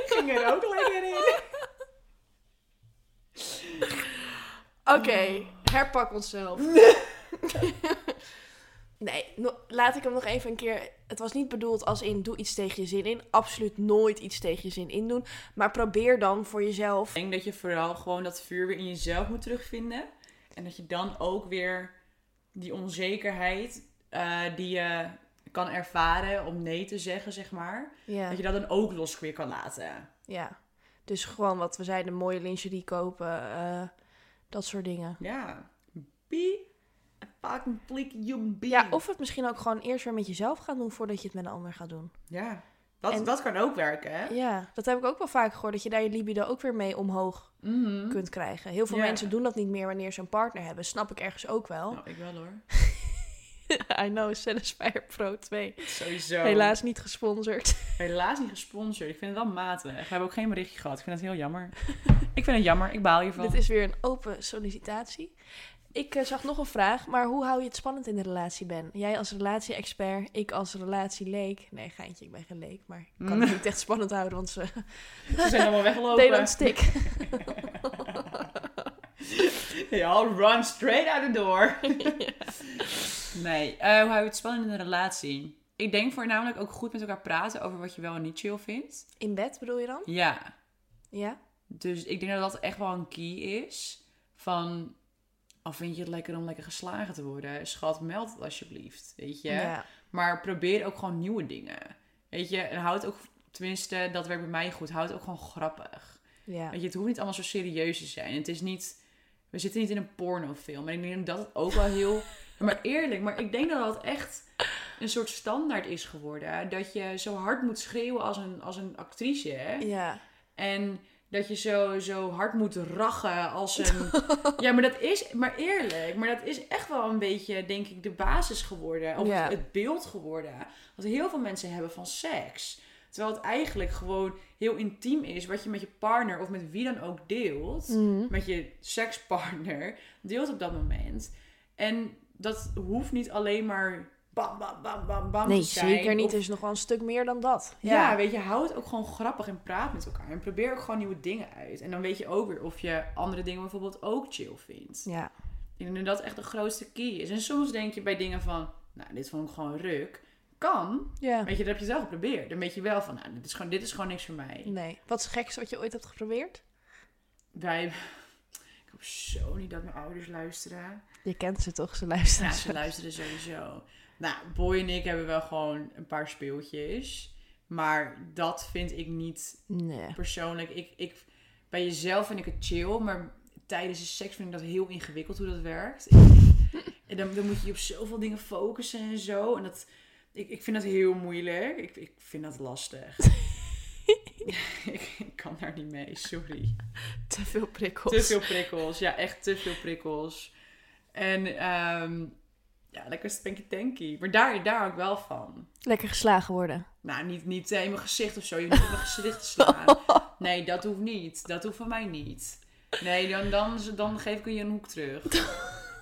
S2: ging er ook lekker in.
S1: Oké, Hmm. herpak onszelf. nee, no- laat ik hem nog even een keer... Het was niet bedoeld als in doe iets tegen je zin in. Absoluut nooit iets tegen je zin in doen. Maar probeer dan voor jezelf...
S2: Ik denk dat je vooral gewoon dat vuur weer in jezelf moet terugvinden. En dat je dan ook weer die onzekerheid eh, die je kan ervaren om nee te zeggen, zeg maar.
S1: Ja,
S2: Dat je dat dan ook los weer kan laten.
S1: ja. Dus gewoon wat we zeiden, mooie lingerie kopen. eh, dat soort dingen.
S2: Ja. Be a fucking bleak human being.
S1: Ja, of het misschien ook gewoon eerst weer met jezelf gaan doen voordat je het met een ander gaat doen.
S2: Ja. Dat,
S1: En-
S2: dat kan ook werken, hè?
S1: Ja, dat heb ik ook wel vaak gehoord. Dat je daar je libido ook weer mee omhoog
S2: Mhm.
S1: kunt krijgen. Heel veel
S2: Ja.
S1: mensen doen dat niet meer wanneer ze een partner hebben. Snap ik ergens ook wel.
S2: Nou, ik wel hoor.
S1: I know, Satisfier Pro 2.
S2: Sowieso.
S1: Helaas niet gesponsord.
S2: Helaas niet gesponsord. Ik vind het wel matig. We hebben ook geen berichtje gehad. Ik vind het heel jammer. ik vind het jammer. Ik baal hiervan.
S1: Dit is weer een open sollicitatie. Ik eh, zag nog een vraag, maar hoe hou je het spannend in de relatie, Ben? Jij als relatie-expert, ik als relatieleek. Nee, geintje, ik ben geen leek, maar ik kan het niet echt spannend houden, want ze
S2: Ze zijn allemaal weggelopen.
S1: deden een stick.
S2: They all run straight out the door. nee, eh, hoe hou je het spannend in een relatie? Ik denk voornamelijk ook goed met elkaar praten over wat je wel en niet chill vindt.
S1: In bed bedoel je dan?
S2: Ja,
S1: Ja?
S2: dus ik denk dat dat echt wel een key is. Van, al vind je het lekker om lekker geslagen te worden? Schat, meld het alsjeblieft, weet je? Maar probeer ook gewoon nieuwe dingen. Weet je, en houd ook, tenminste, dat werkt bij mij goed. Houd ook gewoon grappig.
S1: Ja.
S2: Weet je, het hoeft niet allemaal zo serieus te zijn. Het is niet, we zitten niet in een pornofilm. En ik denk dat het ook wel heel, Ja, maar eerlijk, maar ik denk dat dat echt een soort standaard is geworden. Dat je zo hard moet schreeuwen als een, als een actrice. Hè?
S1: Ja.
S2: En dat je zo, zo hard moet rachen als een. ja, maar dat is. Maar eerlijk, maar dat is echt wel een beetje, denk ik, de basis geworden. Of
S1: Ja.
S2: het, het beeld geworden. Wat heel veel mensen hebben van seks. Terwijl het eigenlijk gewoon heel intiem is wat je met je partner of met wie dan ook deelt.
S1: Mm.
S2: Met je sekspartner deelt op dat moment. En dat hoeft niet alleen maar bam, bam, bam, bam, bam
S1: Nee,
S2: te zijn.
S1: zeker niet.
S2: Of
S1: Er is nog wel een stuk meer dan dat.
S2: ja. weet je, hou het ook gewoon grappig en praat met elkaar. En probeer ook gewoon nieuwe dingen uit. En dan weet je ook weer of je andere dingen bijvoorbeeld ook chill vindt.
S1: Ja.
S2: Ik denk dat dat echt de grootste key is. En soms denk je bij dingen van, nou, dit vond ik gewoon ruk. Kan.
S1: ja.
S2: Weet je, dat heb je zelf geprobeerd. Dan weet je wel van, nou, dit is gewoon, dit is gewoon niks voor mij.
S1: Nee. Wat is het gekste wat je ooit hebt geprobeerd?
S2: Wij... Ik hoop zo niet dat mijn ouders luisteren.
S1: Je kent ze toch, ze
S2: Ja,
S1: luisteren.
S2: ze luisteren sowieso. Nou, Boy en ik hebben wel gewoon een paar speeltjes. Maar dat vind ik niet
S1: Nee.
S2: persoonlijk. Ik, ik, bij jezelf vind ik het chill, maar tijdens de seks vind ik dat heel ingewikkeld hoe dat werkt. en dan, dan moet je je op zoveel dingen focussen en zo. En dat, ik, ik vind dat heel moeilijk. Ik, ik vind dat lastig. ik, ik kan daar niet mee, sorry.
S1: Te veel prikkels.
S2: Te veel prikkels, ja, echt te veel prikkels. En ehm, ja, lekker spanky tanky. Maar daar, daar hou ik wel van.
S1: Lekker geslagen worden.
S2: Nou, niet, niet eh, in mijn gezicht of zo. Je moet niet in mijn gezicht slaan. Nee, dat hoeft niet. Dat hoeft van mij niet. Nee, dan, dan, dan geef ik je een hoek terug.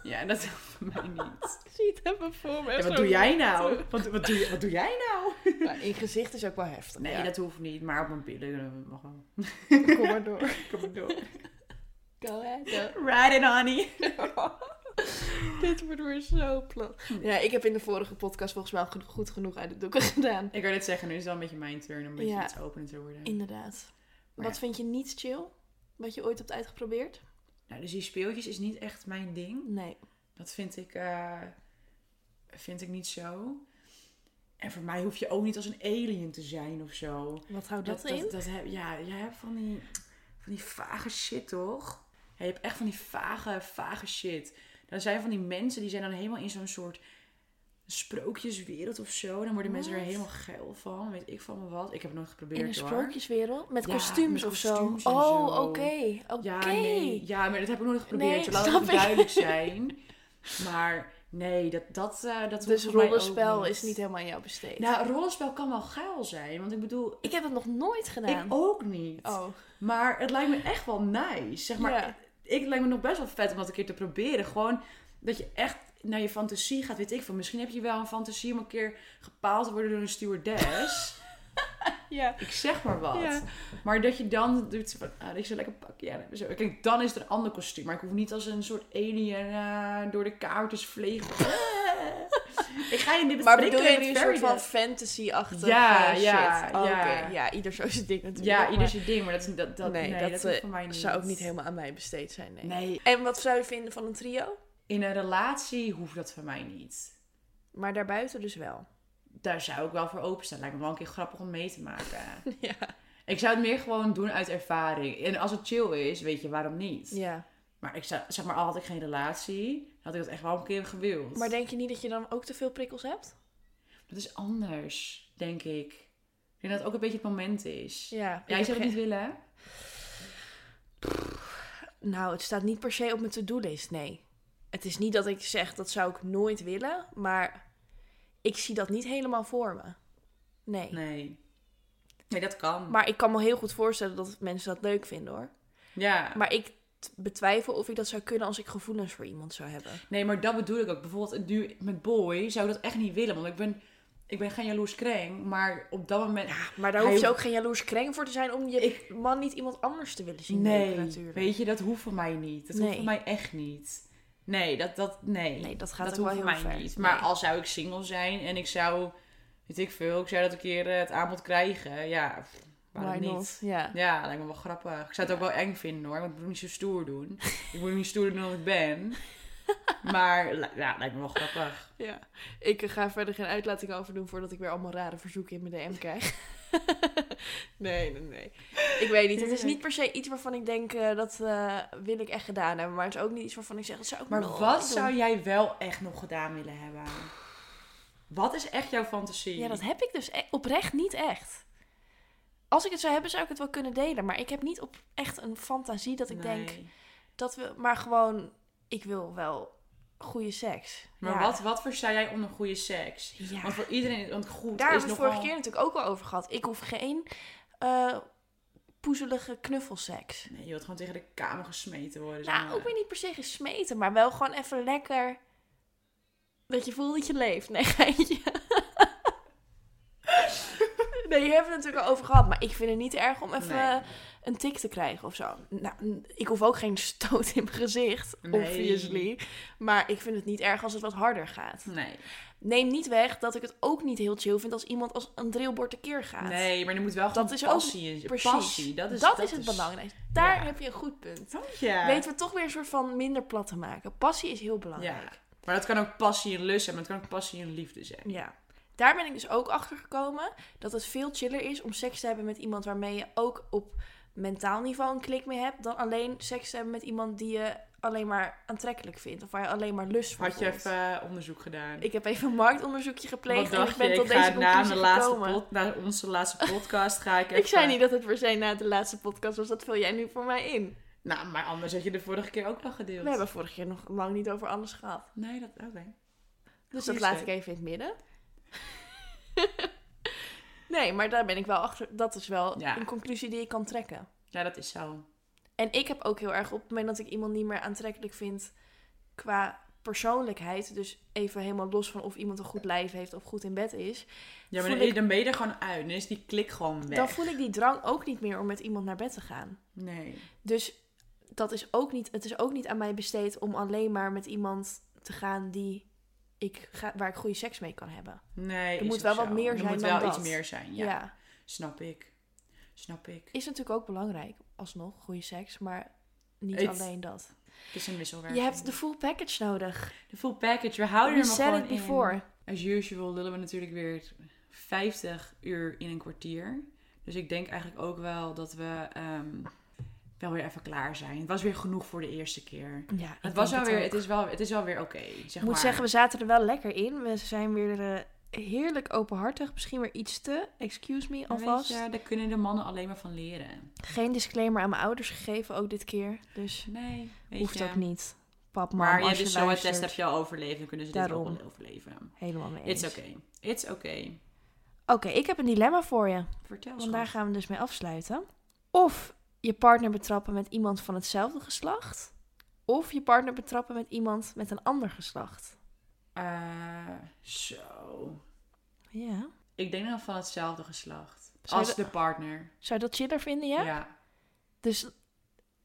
S2: Ja, dat hoeft van mij niet.
S1: Ik zie het even voor me.
S2: Ja, wat doe jij nou? Wat, wat, doe, wat doe jij nou?
S1: in gezicht is ook wel heftig.
S2: Nee,
S1: ja.
S2: dat hoeft niet. Maar op mijn billen eh, mag wel.
S1: Kom maar door.
S2: Kom maar door.
S1: Go ahead.
S2: Ride it, honey.
S1: Dit wordt weer zo plat. Ja, ik heb in de vorige podcast volgens mij al geno- goed genoeg uit de doeken gedaan.
S2: Ik wil dit zeggen, nu is het wel een beetje mijn turn om een beetje
S1: Ja.
S2: iets opener te worden.
S1: Inderdaad.
S2: Maar
S1: Wat
S2: ja.
S1: vind je niet chill? Wat je ooit hebt uitgeprobeerd?
S2: Nou, dus die speeltjes is niet echt mijn ding.
S1: Nee.
S2: Dat vind ik, eh, vind ik niet zo. En voor mij hoef je ook niet als een alien te zijn of zo.
S1: Wat houdt dat, in?
S2: dat, heb, ja, jij hebt van die, van die vage shit, toch? Ja, je hebt echt van die vage, vage shit. Dan zijn van die mensen die zijn dan helemaal in zo'n soort sprookjeswereld of zo. Dan worden mensen er
S1: Wat?
S2: helemaal geil van. Weet ik van me wat. Ik heb het nooit geprobeerd
S1: in een
S2: hoor.
S1: sprookjeswereld? Met
S2: Ja,
S1: kostuums
S2: met
S1: of zo?
S2: kostuums en
S1: Oh, oké.
S2: zo.
S1: Oké.
S2: Ja, nee. Ja, maar dat heb ik nooit
S1: Nee,
S2: geprobeerd. Laat
S1: snap
S2: het
S1: ik.
S2: duidelijk zijn. Maar nee, dat, dat, eh, dat hoeft
S1: Dus
S2: voor mij ook
S1: rollenspel is niet helemaal aan jou besteed.
S2: Nou, rollenspel kan wel geil zijn. Want ik bedoel,
S1: ik heb het nog nooit gedaan.
S2: ik ook niet.
S1: Oh.
S2: Maar het lijkt me echt wel nice. Zeg maar,
S1: Ja.
S2: ik het lijkt me nog best wel vet om dat een keer te proberen. Gewoon dat je echt naar je fantasie gaat, weet ik veel. Misschien heb je wel een fantasie om een keer gepaald te worden door een stewardess.
S1: Ja.
S2: ik zeg maar wat.
S1: Ja.
S2: Maar dat je dan doet van, ah, ik zou lekker pakje aan hebben. Zo. Kijk, dan is er een ander kostuum. Maar ik hoef niet als een soort alien eh, door de kaartjes vliegen. ik ga je dit
S1: Maar bedoel
S2: prikkelen
S1: je
S2: met
S1: nu een soort van
S2: fairy
S1: fantasy-achtig
S2: Ja,
S1: eh, shit?
S2: ja,
S1: Oh,
S2: ja.
S1: oké. Ja, ieder zo zijn ding
S2: tale?
S1: natuurlijk.
S2: Ja,
S1: maar
S2: ieder zijn ding. Maar dat, is- dat, dat,
S1: nee,
S2: nee,
S1: dat,
S2: dat,
S1: eh,
S2: hoeft voor mij niet.
S1: zou ook niet helemaal aan mij besteed zijn, nee.
S2: Nee,
S1: En wat zou je vinden van een trio?
S2: in een relatie hoeft dat voor mij niet.
S1: Maar daarbuiten dus wel.
S2: Daar zou ik wel voor openstaan. Lijkt me wel een keer grappig om mee te maken.
S1: Ja.
S2: ik zou het meer gewoon doen uit ervaring. En als het chill is, weet je waarom niet.
S1: Ja.
S2: Maar ik zou, zeg maar, al had ik geen relatie, had ik dat echt wel een keer gewild.
S1: Maar denk je niet dat je dan ook te veel prikkels hebt?
S2: dat is anders, denk ik. Ik denk dat het ook een beetje het moment is.
S1: Ja.
S2: Jij zou het niet willen, hè?
S1: Nou, het staat niet per se op mijn to-do-list, nee. Het is niet dat ik zeg, dat zou ik nooit willen, maar ik zie dat niet helemaal voor me. Nee.
S2: Nee. Nee, dat kan.
S1: Maar ik kan me heel goed voorstellen dat mensen dat leuk vinden, hoor.
S2: ja.
S1: Maar ik t- betwijfel of ik dat zou kunnen als ik gevoelens voor iemand zou hebben.
S2: Nee, maar dat bedoel ik ook. Bijvoorbeeld nu met Boy zou ik dat echt niet willen. Want ik ben, ik ben geen jaloers kreng. Maar op dat moment...
S1: Maar daar
S2: Hij
S1: hoef je
S2: hoeft-
S1: ook geen jaloers kreng voor te zijn om je
S2: Ik-
S1: man niet iemand anders te willen zien.
S2: Nee,
S1: neuken natuurlijk.
S2: weet je, dat hoeft voor mij niet. Dat
S1: Nee.
S2: hoeft voor mij echt niet. Nee, dat, dat, nee.
S1: Nee, dat gaat
S2: dat
S1: ook
S2: hoeft
S1: wel
S2: voor
S1: heel
S2: mij
S1: ver.
S2: niet. Maar
S1: Nee.
S2: al zou ik single zijn en ik zou, weet ik veel, ik zou dat een keer eh, het aanbod krijgen. Ja, pff, waarom
S1: Why
S2: niet?
S1: not? Ja.
S2: Ja, lijkt me wel grappig. Ik zou het ook wel eng vinden hoor, want ik moet niet zo stoer doen. ik moet niet stoer doen dan ik ben. Maar li- ja, lijkt me wel grappig.
S1: ja. Ik eh, ga verder geen uitlating over doen voordat ik weer allemaal rare verzoeken in mijn DM krijg. nee, nee, nee. Ik weet niet. Het is niet per se iets waarvan ik denk eh, dat eh, wil ik echt gedaan hebben. Maar het is ook niet iets waarvan ik zeg dat zou ik
S2: Maar
S1: nooit
S2: wat
S1: doen.
S2: zou jij wel echt nog gedaan willen hebben? Wat is echt jouw fantasie?
S1: Ja, dat heb ik dus e- oprecht niet echt. Als ik het zou hebben, zou ik het wel kunnen delen. Maar ik heb niet op echt een fantasie dat ik denk
S2: Nee.
S1: dat we. Maar gewoon, ik wil wel goede seks.
S2: Maar
S1: Ja.
S2: wat, wat versta jij onder goede seks?
S1: Ja.
S2: Want voor iedereen, want goed
S1: Daar
S2: is
S1: hebben we het
S2: nogal...
S1: vorige keer natuurlijk ook al over gehad. Ik hoef geen eh, poezelige knuffelseks.
S2: Nee, je wilt gewoon tegen de kamer gesmeten worden. zeg
S1: Nou,
S2: maar.
S1: ook weer niet per se gesmeten, maar wel gewoon even lekker. Dat je voelt dat je leeft. Nee, geintje. Nee, hier hebben we het natuurlijk al over gehad. Maar ik vind het niet erg om even
S2: Nee.
S1: eh, een tik te krijgen of zo. Nou, n- ik hoef ook geen stoot in mijn gezicht,
S2: Nee.
S1: obviously. Maar ik vind het niet erg als het wat harder gaat.
S2: Nee.
S1: Neem niet weg dat ik het ook niet heel chill vind als iemand als een drillbord tekeer gaat.
S2: nee, maar er moet wel gewoon
S1: Dat is ook
S2: passie in
S1: Precies.
S2: Passie, dat is,
S1: het belangrijkste. Daar
S2: Ja.
S1: heb je een goed punt.
S2: Dank je.
S1: Weten we toch weer een soort van minder plat te maken. Passie is heel
S2: Ja.
S1: belangrijk.
S2: Maar dat kan ook passie en lust zijn, maar het kan ook passie en liefde zijn.
S1: Ja. Daar ben ik dus ook achter gekomen dat het veel chiller is om seks te hebben met iemand waarmee je ook op mentaal niveau een klik mee hebt, dan alleen seks te hebben met iemand die je alleen maar aantrekkelijk vindt of waar je alleen maar lust van
S2: Had je
S1: voelt.
S2: even eh, onderzoek gedaan?
S1: Ik heb even een marktonderzoekje gepleegd
S2: Wat
S1: en ik
S2: dacht je?
S1: ben tot
S2: Ik
S1: deze
S2: ga na,
S1: conclusie
S2: de laatste eh,
S1: gekomen.
S2: pod- na onze laatste podcast ga ik even...
S1: ik zei niet dat het per se na de laatste podcast was, dat vul jij nu voor mij in.
S2: Nou, maar anders had je de vorige keer ook wel gedeeld.
S1: We hebben vorige keer nog lang niet over anders gehad.
S2: Nee, dat... Oké.
S1: Dus
S2: Goeie
S1: dat laat ik
S2: steek.
S1: even in het midden. nee, maar daar ben ik wel achter. Dat is wel
S2: Ja.
S1: een conclusie die ik kan trekken.
S2: Ja, dat is zo.
S1: En ik heb ook heel erg op het moment dat ik iemand niet meer aantrekkelijk vind qua persoonlijkheid. Dus even helemaal los van of iemand een goed lijf heeft of goed in bed is.
S2: Ja, maar
S1: Voel
S2: dan,
S1: ik-
S2: dan ben je er gewoon uit. Dan is die klik gewoon weg.
S1: Dan voel ik die drang ook niet meer om met iemand naar bed te gaan.
S2: Nee.
S1: Dus dat is ook niet, het is ook niet aan mij besteed om alleen maar met iemand te gaan die ik ga, waar ik goede seks mee kan hebben.
S2: Nee,
S1: Er
S2: is
S1: moet
S2: ook
S1: wel wat
S2: zo.
S1: meer zijn
S2: Er moet
S1: dan
S2: wel
S1: dat.
S2: iets meer zijn, ja.
S1: Ja.
S2: Snap ik. Snap ik.
S1: Is natuurlijk ook belangrijk, alsnog, goede seks, maar niet
S2: Het-
S1: alleen dat.
S2: Het is een wisselwerking.
S1: Je hebt de full package nodig.
S2: De full package. We houden
S1: We
S2: er maar
S1: said
S2: gewoon
S1: it
S2: in.
S1: before.
S2: As usual lullen we natuurlijk weer 50 uur in een kwartier. Dus ik denk eigenlijk ook wel dat we ehm, wel weer even klaar zijn. Het was weer genoeg voor de eerste keer.
S1: Ja, ik
S2: Het was
S1: denk
S2: wel
S1: het
S2: weer,
S1: ook.
S2: het is wel, het is wel weer oké.
S1: Ik
S2: zeg
S1: moet
S2: maar.
S1: zeggen, we zaten er wel lekker in. We zijn weer eh, heerlijk openhartig. Misschien weer iets te, excuse me
S2: Maar weet
S1: alvast.
S2: je, daar kunnen de mannen alleen maar van leren.
S1: Geen disclaimer aan mijn ouders gegeven, ook dit keer. Dus
S2: Nee, weet
S1: hoeft
S2: je.
S1: ook niet. Pap, mam,
S2: Maar je
S1: als
S2: hebt
S1: je
S2: dus zo'n
S1: luistert,
S2: test heb je al overleefd. Dan kunnen ze dit
S1: Daarom.
S2: ook wel overleven.
S1: helemaal mee
S2: It's
S1: eens.
S2: oké. It's oké.
S1: Oké, ik heb een dilemma voor je.
S2: Vertel
S1: Want daar gaan we dus mee afsluiten. Of je partner betrappen met iemand van hetzelfde geslacht. Of je partner betrappen met iemand met een ander geslacht.
S2: Eh, zo.
S1: Ja.
S2: Ik denk dan van hetzelfde geslacht.
S1: Zou je
S2: als de partner.
S1: Zou je dat chiller vinden, ja?
S2: ja.
S1: Dus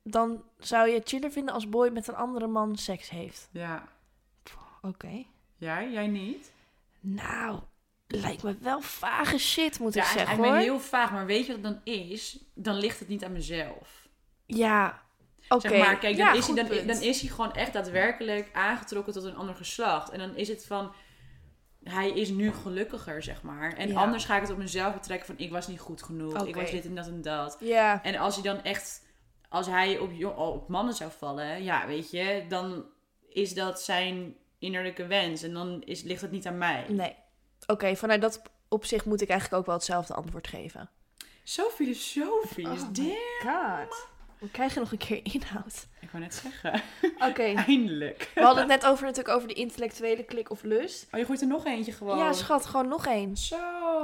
S1: dan zou je het chiller vinden als boy met een andere man seks heeft.
S2: Ja.
S1: Oké.
S2: Jij? Jij niet?
S1: Nou, lijkt me wel vage shit, moet ik
S2: ja,
S1: zeggen
S2: ik
S1: hoor.
S2: ben heel vaag. Maar weet je wat het dan is? Dan ligt het niet aan mezelf.
S1: Ja, oké.
S2: Zeg maar, kijk, dan,
S1: Ja,
S2: is hij,
S1: goed
S2: dan,
S1: punt.
S2: dan is hij gewoon echt daadwerkelijk aangetrokken tot een ander geslacht. En dan is het van... Hij is nu gelukkiger, zeg maar. En
S1: Ja.
S2: anders ga ik het op mezelf betrekken van... Ik was niet goed genoeg. Ik
S1: Oké.
S2: was dit en dat en dat.
S1: Ja,
S2: En als hij dan echt, als hij op, jo- op mannen zou vallen, ja, weet je, dan is dat zijn innerlijke wens. En dan is, ligt het niet aan mij.
S1: nee. Oké, vanuit dat opzicht moet ik eigenlijk ook wel hetzelfde antwoord geven.
S2: Zo filosofisch,
S1: Oh
S2: oh
S1: my God. We krijgen nog een keer inhoud.
S2: Ik wou net zeggen,
S1: Oké.
S2: eindelijk.
S1: We hadden het net over, natuurlijk over de intellectuele klik of lust.
S2: Oh, je gooit er nog eentje gewoon.
S1: Ja, schat, gewoon nog één.
S2: Zo.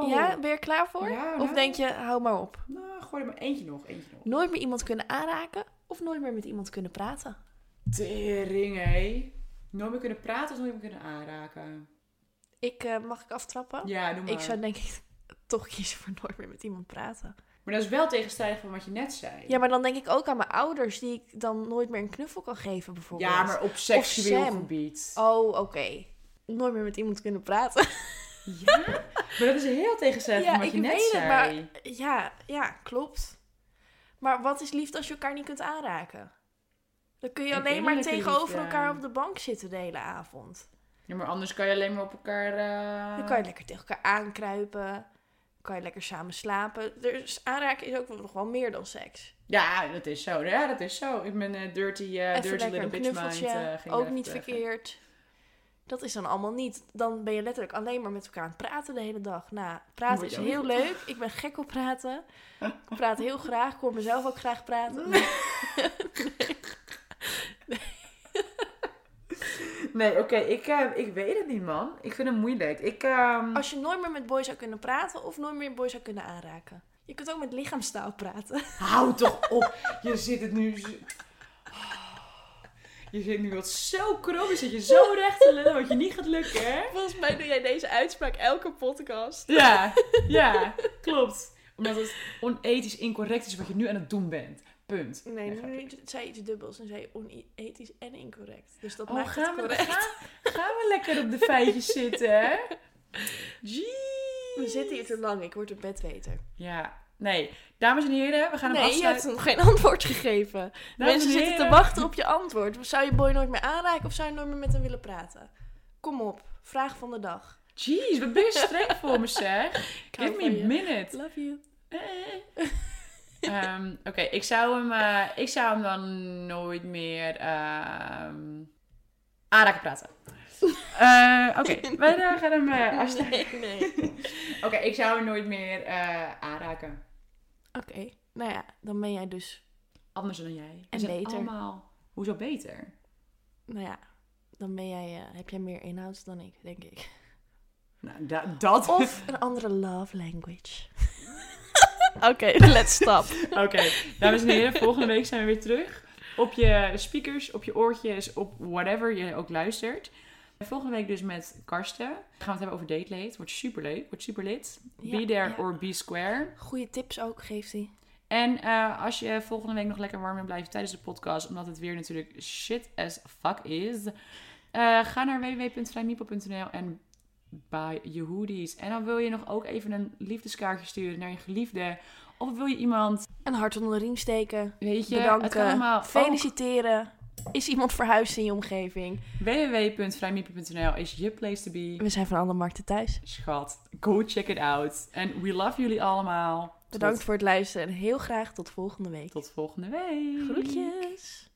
S1: Ja, ben je er klaar voor?
S2: Ja,
S1: Of
S2: nou.
S1: denk je, hou maar op.
S2: Nou, gooi er maar eentje nog, eentje nog.
S1: Nooit meer iemand kunnen aanraken of nooit meer met iemand kunnen praten.
S2: Tering, hé. Nooit meer kunnen praten of nooit meer kunnen aanraken.
S1: Ik, eh, mag ik aftrappen?
S2: Ja, noem maar.
S1: ik zou denk ik toch kiezen voor nooit meer met iemand praten.
S2: Maar dat is wel tegenstrijdig van wat je net zei.
S1: Ja, maar dan denk ik ook aan mijn ouders die ik dan nooit meer een knuffel kan geven bijvoorbeeld.
S2: Ja, maar op seksueel
S1: Sam.
S2: gebied.
S1: Oh, oké. Nooit meer met iemand kunnen praten.
S2: Ja? Maar dat is heel tegenstrijdig
S1: Ja,
S2: van wat
S1: ik
S2: je net
S1: weet het,
S2: zei.
S1: maar- Ja, ja, klopt. Maar wat is liefde als je elkaar niet kunt aanraken? Dan kun je
S2: Een
S1: alleen maar
S2: innerlijke
S1: tegenover
S2: liefde.
S1: elkaar op de bank zitten de hele avond.
S2: Ja, maar anders kan je alleen maar op elkaar... eh,
S1: Dan kan je lekker tegen elkaar aankruipen. Dan kan je lekker samen slapen. Dus aanraken is ook nog wel meer dan seks.
S2: Ja, dat is zo. Ja, dat is zo. Ik ben eh dirty, eh
S1: Even
S2: dirty
S1: lekker
S2: little
S1: een
S2: bitch mind.
S1: knuffeltje.
S2: eh, ging
S1: ook
S2: even
S1: niet
S2: zeggen.
S1: verkeerd. Dat is dan allemaal niet. Dan ben je letterlijk alleen maar met elkaar aan het praten de hele dag. Nou, praten
S2: Word
S1: is
S2: je ook.
S1: heel leuk. Ik ben gek op praten. Ik praat heel graag. Ik hoor mezelf ook graag praten.
S2: Nee, oké, ik, eh, ik weet het niet, man. Ik vind het moeilijk. Ik, ehm,
S1: Als je nooit meer met boys zou kunnen praten of nooit meer boys zou kunnen aanraken. Je kunt ook met lichaamstaal praten.
S2: Hou toch op. Je zit het nu... zo- Je zit nu wat zo krom. Je zit je zo recht te lullen, wat je niet gaat lukken, hè?
S1: Volgens mij doe jij deze uitspraak elke podcast.
S2: Ja, ja, klopt. Omdat het onethisch incorrect is wat je nu aan het doen bent. Punt.
S1: Nee,
S2: grapje.
S1: nu zei je iets dubbels en zei je onethisch en incorrect. Dus dat
S2: Oh,
S1: maakt het
S2: gaan we,
S1: correct.
S2: gaan, gaan we lekker op de feitjes zitten, hè? Jeez.
S1: We zitten hier te lang, ik word een bedweter.
S2: Ja, nee. Dames en heren, we gaan hem
S1: Nee, je hebt
S2: afsluiten.
S1: nog geen antwoord gegeven.
S2: Dames en
S1: Mensen zitten te
S2: heren.
S1: wachten op je antwoord. Zou je boy nooit meer aanraken of zou je nooit meer met hem willen praten? Kom op, vraag van de dag.
S2: Jeez, wat ben je streng voor me, zeg.
S1: Ik hou
S2: Give me
S1: van je.
S2: a minute.
S1: Love you.
S2: Eh. Ehm, Oké, ik, zou hem, eh, ik zou hem dan nooit meer ehm aanraken praten. Eh, Oké, wij eh, gaan hem eh, afsluiten.
S1: Nee, nee. Oké,
S2: Oké, ik zou hem nooit meer eh, aanraken.
S1: nou ja, dan ben jij dus...
S2: Anders dan jij. We
S1: En
S2: zijn
S1: beter.
S2: Allemaal... Hoezo beter?
S1: Nou ja, dan ben jij, eh, heb jij meer inhoud dan ik, denk ik.
S2: Nou, da- dat...
S1: Of een andere love language. Oké, let's stop.
S2: Oké, dames en heren, volgende week zijn we weer terug. Op je speakers, op je oortjes, op whatever je ook luistert. Volgende week dus met Karsten. Gaan we het hebben over date late. Wordt super leuk, wordt super lit.
S1: Ja,
S2: be there
S1: ja.
S2: or be square.
S1: Goede tips ook geeft hij.
S2: En eh, als je volgende week nog lekker warm wil blijven tijdens de podcast, omdat het weer natuurlijk shit as fuck is, eh, ga naar www.vrijmipo.nl en buy je hoodies. En dan wil je nog ook even een liefdeskaartje sturen naar je geliefde. Of wil je iemand,
S1: Een hart onder de riem steken.
S2: weet je, het kan allemaal
S1: bedanken,
S2: ook.
S1: feliciteren. Is iemand verhuisd in je omgeving?
S2: www.vrijmipo.nl is je place to be.
S1: We zijn van alle markten thuis.
S2: Schat, go check it out. En we love jullie allemaal.
S1: Bedankt
S2: Tot,
S1: voor het luisteren en heel graag tot volgende week.
S2: tot volgende week.
S1: Groetjes.